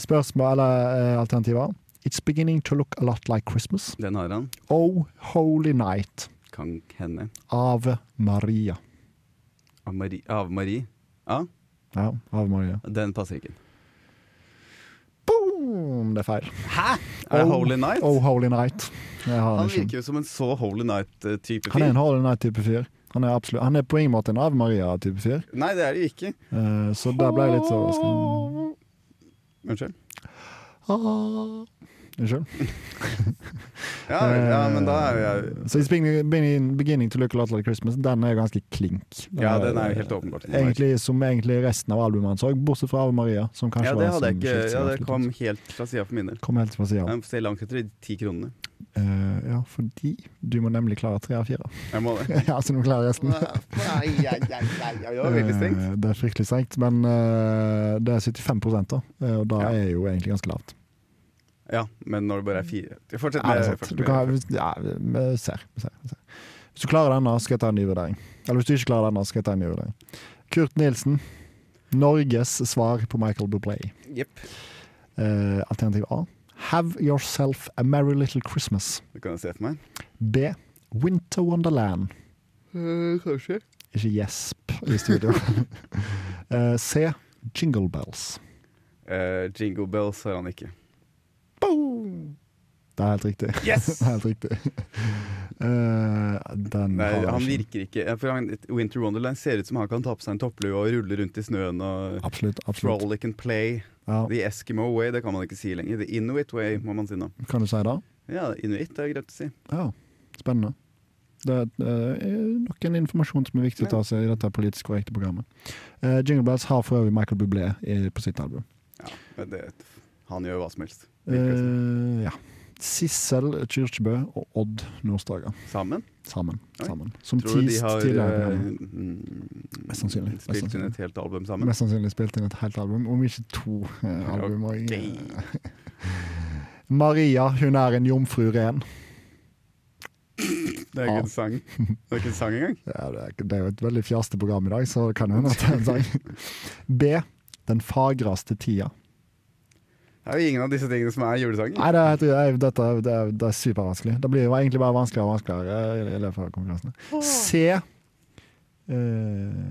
S2: Spørsmål eller eh, alternativer? It's beginning to look a lot like Christmas.
S1: Den har han.
S2: Oh Holy Night.
S1: Kan hende.
S2: Ave Maria.
S1: Av Marie. Av Marie. Ja,
S2: Ja, Ave Maria.
S1: den passer ikke.
S2: Boom! Det er feil.
S1: Hæ?! Er det
S2: Oh,
S1: Holy Night?
S2: Oh Holy Night. Jeg har
S1: Han
S2: den ikke.
S1: virker jo som en så Holy Night-type
S2: Han er
S1: fyr.
S2: en Holy Night-type fyr. Han er, absolutt, han er på ingen måte en Ave Maria-type fyr,
S1: Nei, det er det jo ikke.
S2: Eh, så der ble jeg litt overrasket.
S1: Unnskyld.
S2: Ah. Unnskyld.
S1: Ja, vel, ja, men da er jo jeg
S2: Eh, Så It's beginning, beginning, beginning to look a lot like Christmas, den er jo ganske klink.
S1: Ja, den er jo helt åpenbart. en Holy Night.
S2: Eh, Egentlig som egentlig resten av albumet hans òg, bortsett fra Ave Maria. Som kanskje
S1: Ja,
S2: var
S1: det hadde jeg
S2: som
S1: ikke
S2: skilte seg
S1: Ja,
S2: ut
S1: det
S2: litt.
S1: kom helt fra sida for min del.
S2: Kom helt på siden.
S1: Jeg må se langt etter de ti kronene.
S2: Eh, ja, fordi du må nemlig klare tre av fire.
S1: Jeg må det.
S2: ja, så du må klare resten.
S1: Nei, jeg, jeg, jeg, jeg var veldig strengt.
S2: Eh, det er fryktelig strengt, men eh, det er 75 da, eh, og da
S1: Ja.
S2: er jo egentlig ganske lavt.
S1: Ja, men når det bare er fire Fortsett
S2: Ja,
S1: med
S2: det er sant.
S1: første
S2: Du kan, hvis- ja, vi ser, vi ser, vi ser. Hvis du klarer denne, skal jeg ta en ny vurdering. Eller hvis du ikke klarer denne, skal jeg ta en ny vurdering. Kurt Nilsen, Norges svar på Michael Bublé.
S1: Jepp.
S2: Eh, alternativ A. Have yourself a merry little Christmas.
S1: Det kan jeg se for meg.
S2: B. Winter Wonderland.
S1: kanskje.
S2: Ikke gjesp i studio. Eh, C. Jingle Bells.
S1: Eh, Jingle Bells har han ikke.
S2: Det er helt riktig.
S1: Yes!
S2: Det er helt riktig. Eh, den
S1: Nei,
S2: har jeg
S1: han
S2: ikke.
S1: virker ikke ja, For han, Winter Wonderland ser ut som han kan ta på seg en topplue og rulle rundt i snøen og
S2: Absolutt. absolutt.
S1: frolic and play.
S2: Ja,
S1: The Eskimo way, det kan man ikke si lenger. The Inuit way, må man si nå.
S2: kan du si det?
S1: Ja, inuit er greit å si.
S2: Ja, spennende. Det er eh, nok en informasjon som er viktig å ta seg i dette politisk korrekte programmet. Eh, Jingle Bells har for øvrig Michael Bublé i, på sitt album.
S1: Ja, men det, han gjør hva som helst. virker det som.
S2: Eh, ja. Sissel Kyrkjebø og Odd Nordstoga
S1: Sammen?
S2: sammen.
S1: Oi.
S2: sammen. Som
S1: Tror du de
S2: teased
S1: har
S2: tidligere. i
S1: eh,
S2: programmet.
S1: mm,
S2: Mest sannsynlig, mest
S1: spilt inn
S2: sannsynlig.
S1: et helt album sammen?
S2: Mest sannsynlig spilt inn et helt album, om ikke to eh, album. og-
S1: Ok.
S2: Maria, hun er en jomfru ren.
S1: Det er ikke en sang Det er ikke en sang engang.
S2: Ja, det, er, ikke- det er jo et veldig fjaste program i dag, så det kan hende at det er en sang. B. Den fagreste tida.
S1: Det er jo ingen av disse tingene som er julesanger.
S2: Nei, det er, det er, dette, er- det er, det er supervanskelig. Det blir jo egentlig bare vanskeligere og vanskeligere i- i løpet av konkurransene. C. Eh,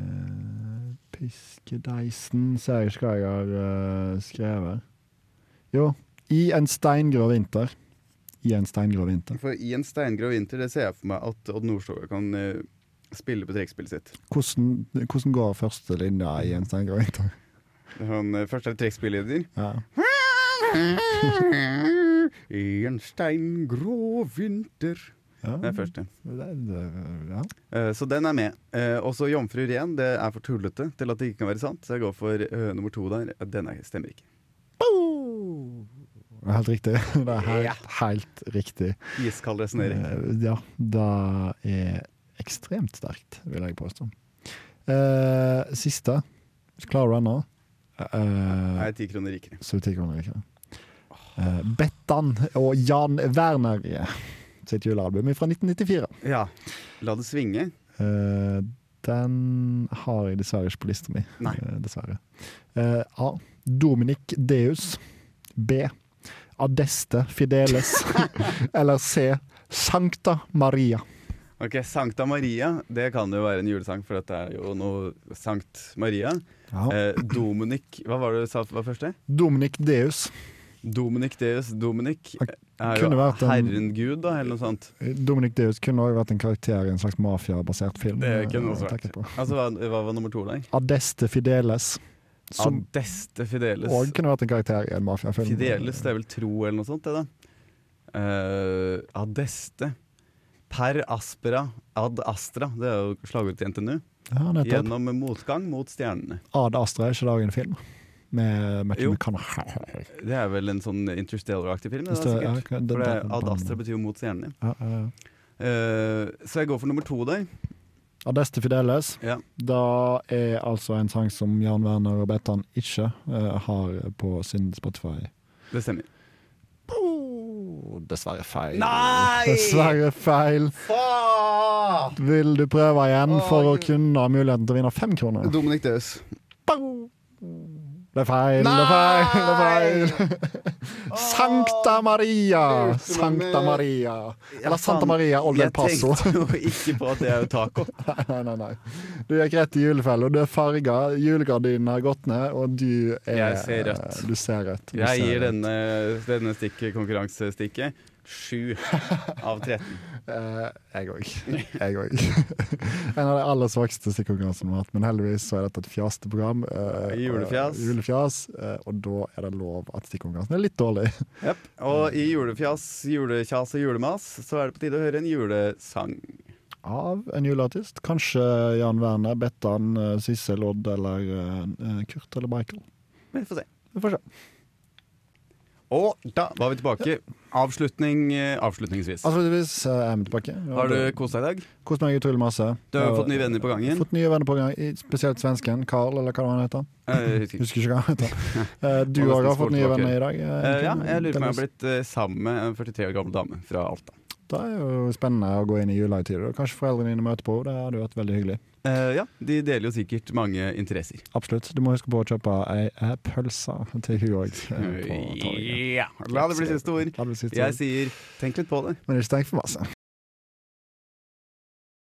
S2: Piskedeisen ser jeg ikke hva jeg har eh, skrevet. Jo. I en steingrå vinter. I en steingrå vinter.
S1: For i en steingrå vinter, det ser jeg for meg at Odd Nordstoga kan eh, spille på trekkspillet sitt.
S2: Hvordan, hvordan går første linja i en steingrå vinter?
S1: Han, eh, først er det trekkspilleder.
S2: Ja.
S1: I en steingrå vinter
S2: Ja.
S1: Det er første.
S2: Det- det- ja.
S1: Eh, så den er med. Eh, også Jomfru Ren. Det er for tullete til at det ikke kan være sant, så jeg går for eh, nummer to der. Den er, stemmer ikke.
S2: Det er Helt riktig. Det er helt,
S1: Ja.
S2: helt riktig.
S1: Iskald resonnering.
S2: Eh, Ja, det er ekstremt sterkt, vil jeg påstå. Eh, siste. Klarer du den nå?
S1: Jeg
S2: Eh,
S1: er ti kroner rikere.
S2: så ti kroner ikke. Eh, Bettan og Jan Werner sitt julealbum fra 1994.
S1: Ja. La det svinge.
S2: Eh, den har jeg dessverre ikke på lista mi.
S1: Nei.
S2: Eh, dessverre. Eh, A. Dominic Deus. B. Adeste Fideles. Eller C. Sankta Maria.
S1: Ok, Sankta Maria, det kan jo være en julesang, for dette er jo noe Sankt Maria. Eh, Dominic Hva var det du sa var første?
S2: Dominic Deus.
S1: Dominic Deus Dominic
S2: Han
S1: er jo
S2: kunne vært en-
S1: herren gud, da, eller noe sånt.
S2: Dominic Deus kunne også vært en karakter i en slags mafiabasert film.
S1: Det kunne
S2: eh,
S1: også
S2: å
S1: vært.
S2: tenke på.
S1: Altså, hva, hva var nummer to der?
S2: Adeste Fideles. Som
S1: Adeste Fideles.
S2: òg kunne vært en karakter i en mafiafilm.
S1: Fideles, det er vel tro, eller noe sånt, det, da. Eh, Adeste. Per aspera ad astra, det er jo slagordet til NTNU.
S2: Ja, nettopp.
S1: Gjennom motgang mot stjernene.
S2: Ad Astra er ikke det også en film? Med Matthew
S1: Jo.
S2: McConaughey.
S1: Det er vel en sånn interstellar-aktig film? Det, da,
S2: Interstellar,
S1: sikkert.
S2: ja, ok,
S1: for
S2: det-
S1: det,
S2: det-
S1: Ad Astra betyr jo mot stjernene.
S2: Ja, ja, ja.
S1: Eh, så jeg går for nummer to der.
S2: Adeste Fideles.
S1: Ja.
S2: Da er altså en sang som Jan Werner og Bettan ikke eh, har på sin Spotify.
S1: Det stemmer.
S3: Oh, dessverre feil.
S2: Dessverre feil.
S1: Faen!
S2: Vil du prøve igjen for å
S1: Gud.
S2: kunne ha muligheten til å vinne fem kroner?
S1: Dominic Deus.
S2: Det er feil, det er feil, det er feil. Sankta Maria! Sankta Maria. Eller Santa Maria og Del Paso.
S1: Jeg tenkte jo ikke på at det er jo taco.
S2: Nei, nei, nei. Du gikk rett i julefelle, og du er farga. Julegardinene har gått ned, og du er
S1: Jeg ser rødt.
S2: Du ser rødt. Du
S1: Jeg
S2: ser
S1: gir
S2: rødt.
S1: denne, denne stikk- konkurransestikket sju av 13.
S2: Eh, jeg òg. Jeg òg. en av de aller svakeste stikkonkurransene vi har hatt, men heldigvis så er dette et fjaste program. eh,
S1: Julefjas.
S2: og- julefjas, eh, og da er det lov at stikkonkurransen er litt dårlig.
S1: Jep. Og i julefjas, julekjas og julemas så er det på tide å høre en julesang.
S2: Av en juleartist. Kanskje Jan Werner, Bettan, eh, Sissel Odd eller eh, Kurt eller Michael.
S1: Vi får se.
S2: Vi får se.
S1: Og da var vi tilbake. Avslutning eh, avslutningsvis.
S2: Avslutningsvis eh, er vi tilbake.
S1: Har du kost deg i dag?
S2: kost meg utrolig masse?
S1: Du har jo
S2: Og-
S1: fått nye venner på gangen.
S2: Fått nye venner på gang, i- spesielt svensken. Carl, eller hva det var han heter.
S1: Eh, husker ikke.
S2: Husker ikke hva han heter. Eh, Du
S1: Og
S2: òg har
S1: nesten
S2: fått nye
S1: sportbakker.
S2: venner i dag. eh,
S1: Eh, ja,
S2: egentlig.
S1: jeg lurer på om jeg
S2: Delvis.
S1: har blitt eh, sammen med en 43 år gammel dame fra Alta.
S2: Det er jo spennende å gå inn i julehøytider. og Kanskje foreldrene dine møter på. Det hadde jo vært veldig hyggelig.
S1: Eh, ja, De deler jo sikkert mange interesser.
S2: Absolutt. Du må huske på å kjøpe ei ei pølse til hun eh, òg.
S1: Eh, Ja, La det bli siste ord.
S2: Jeg
S1: Jeg
S2: sier
S1: sier tenk litt på det.
S2: Men ikke tenk for masse.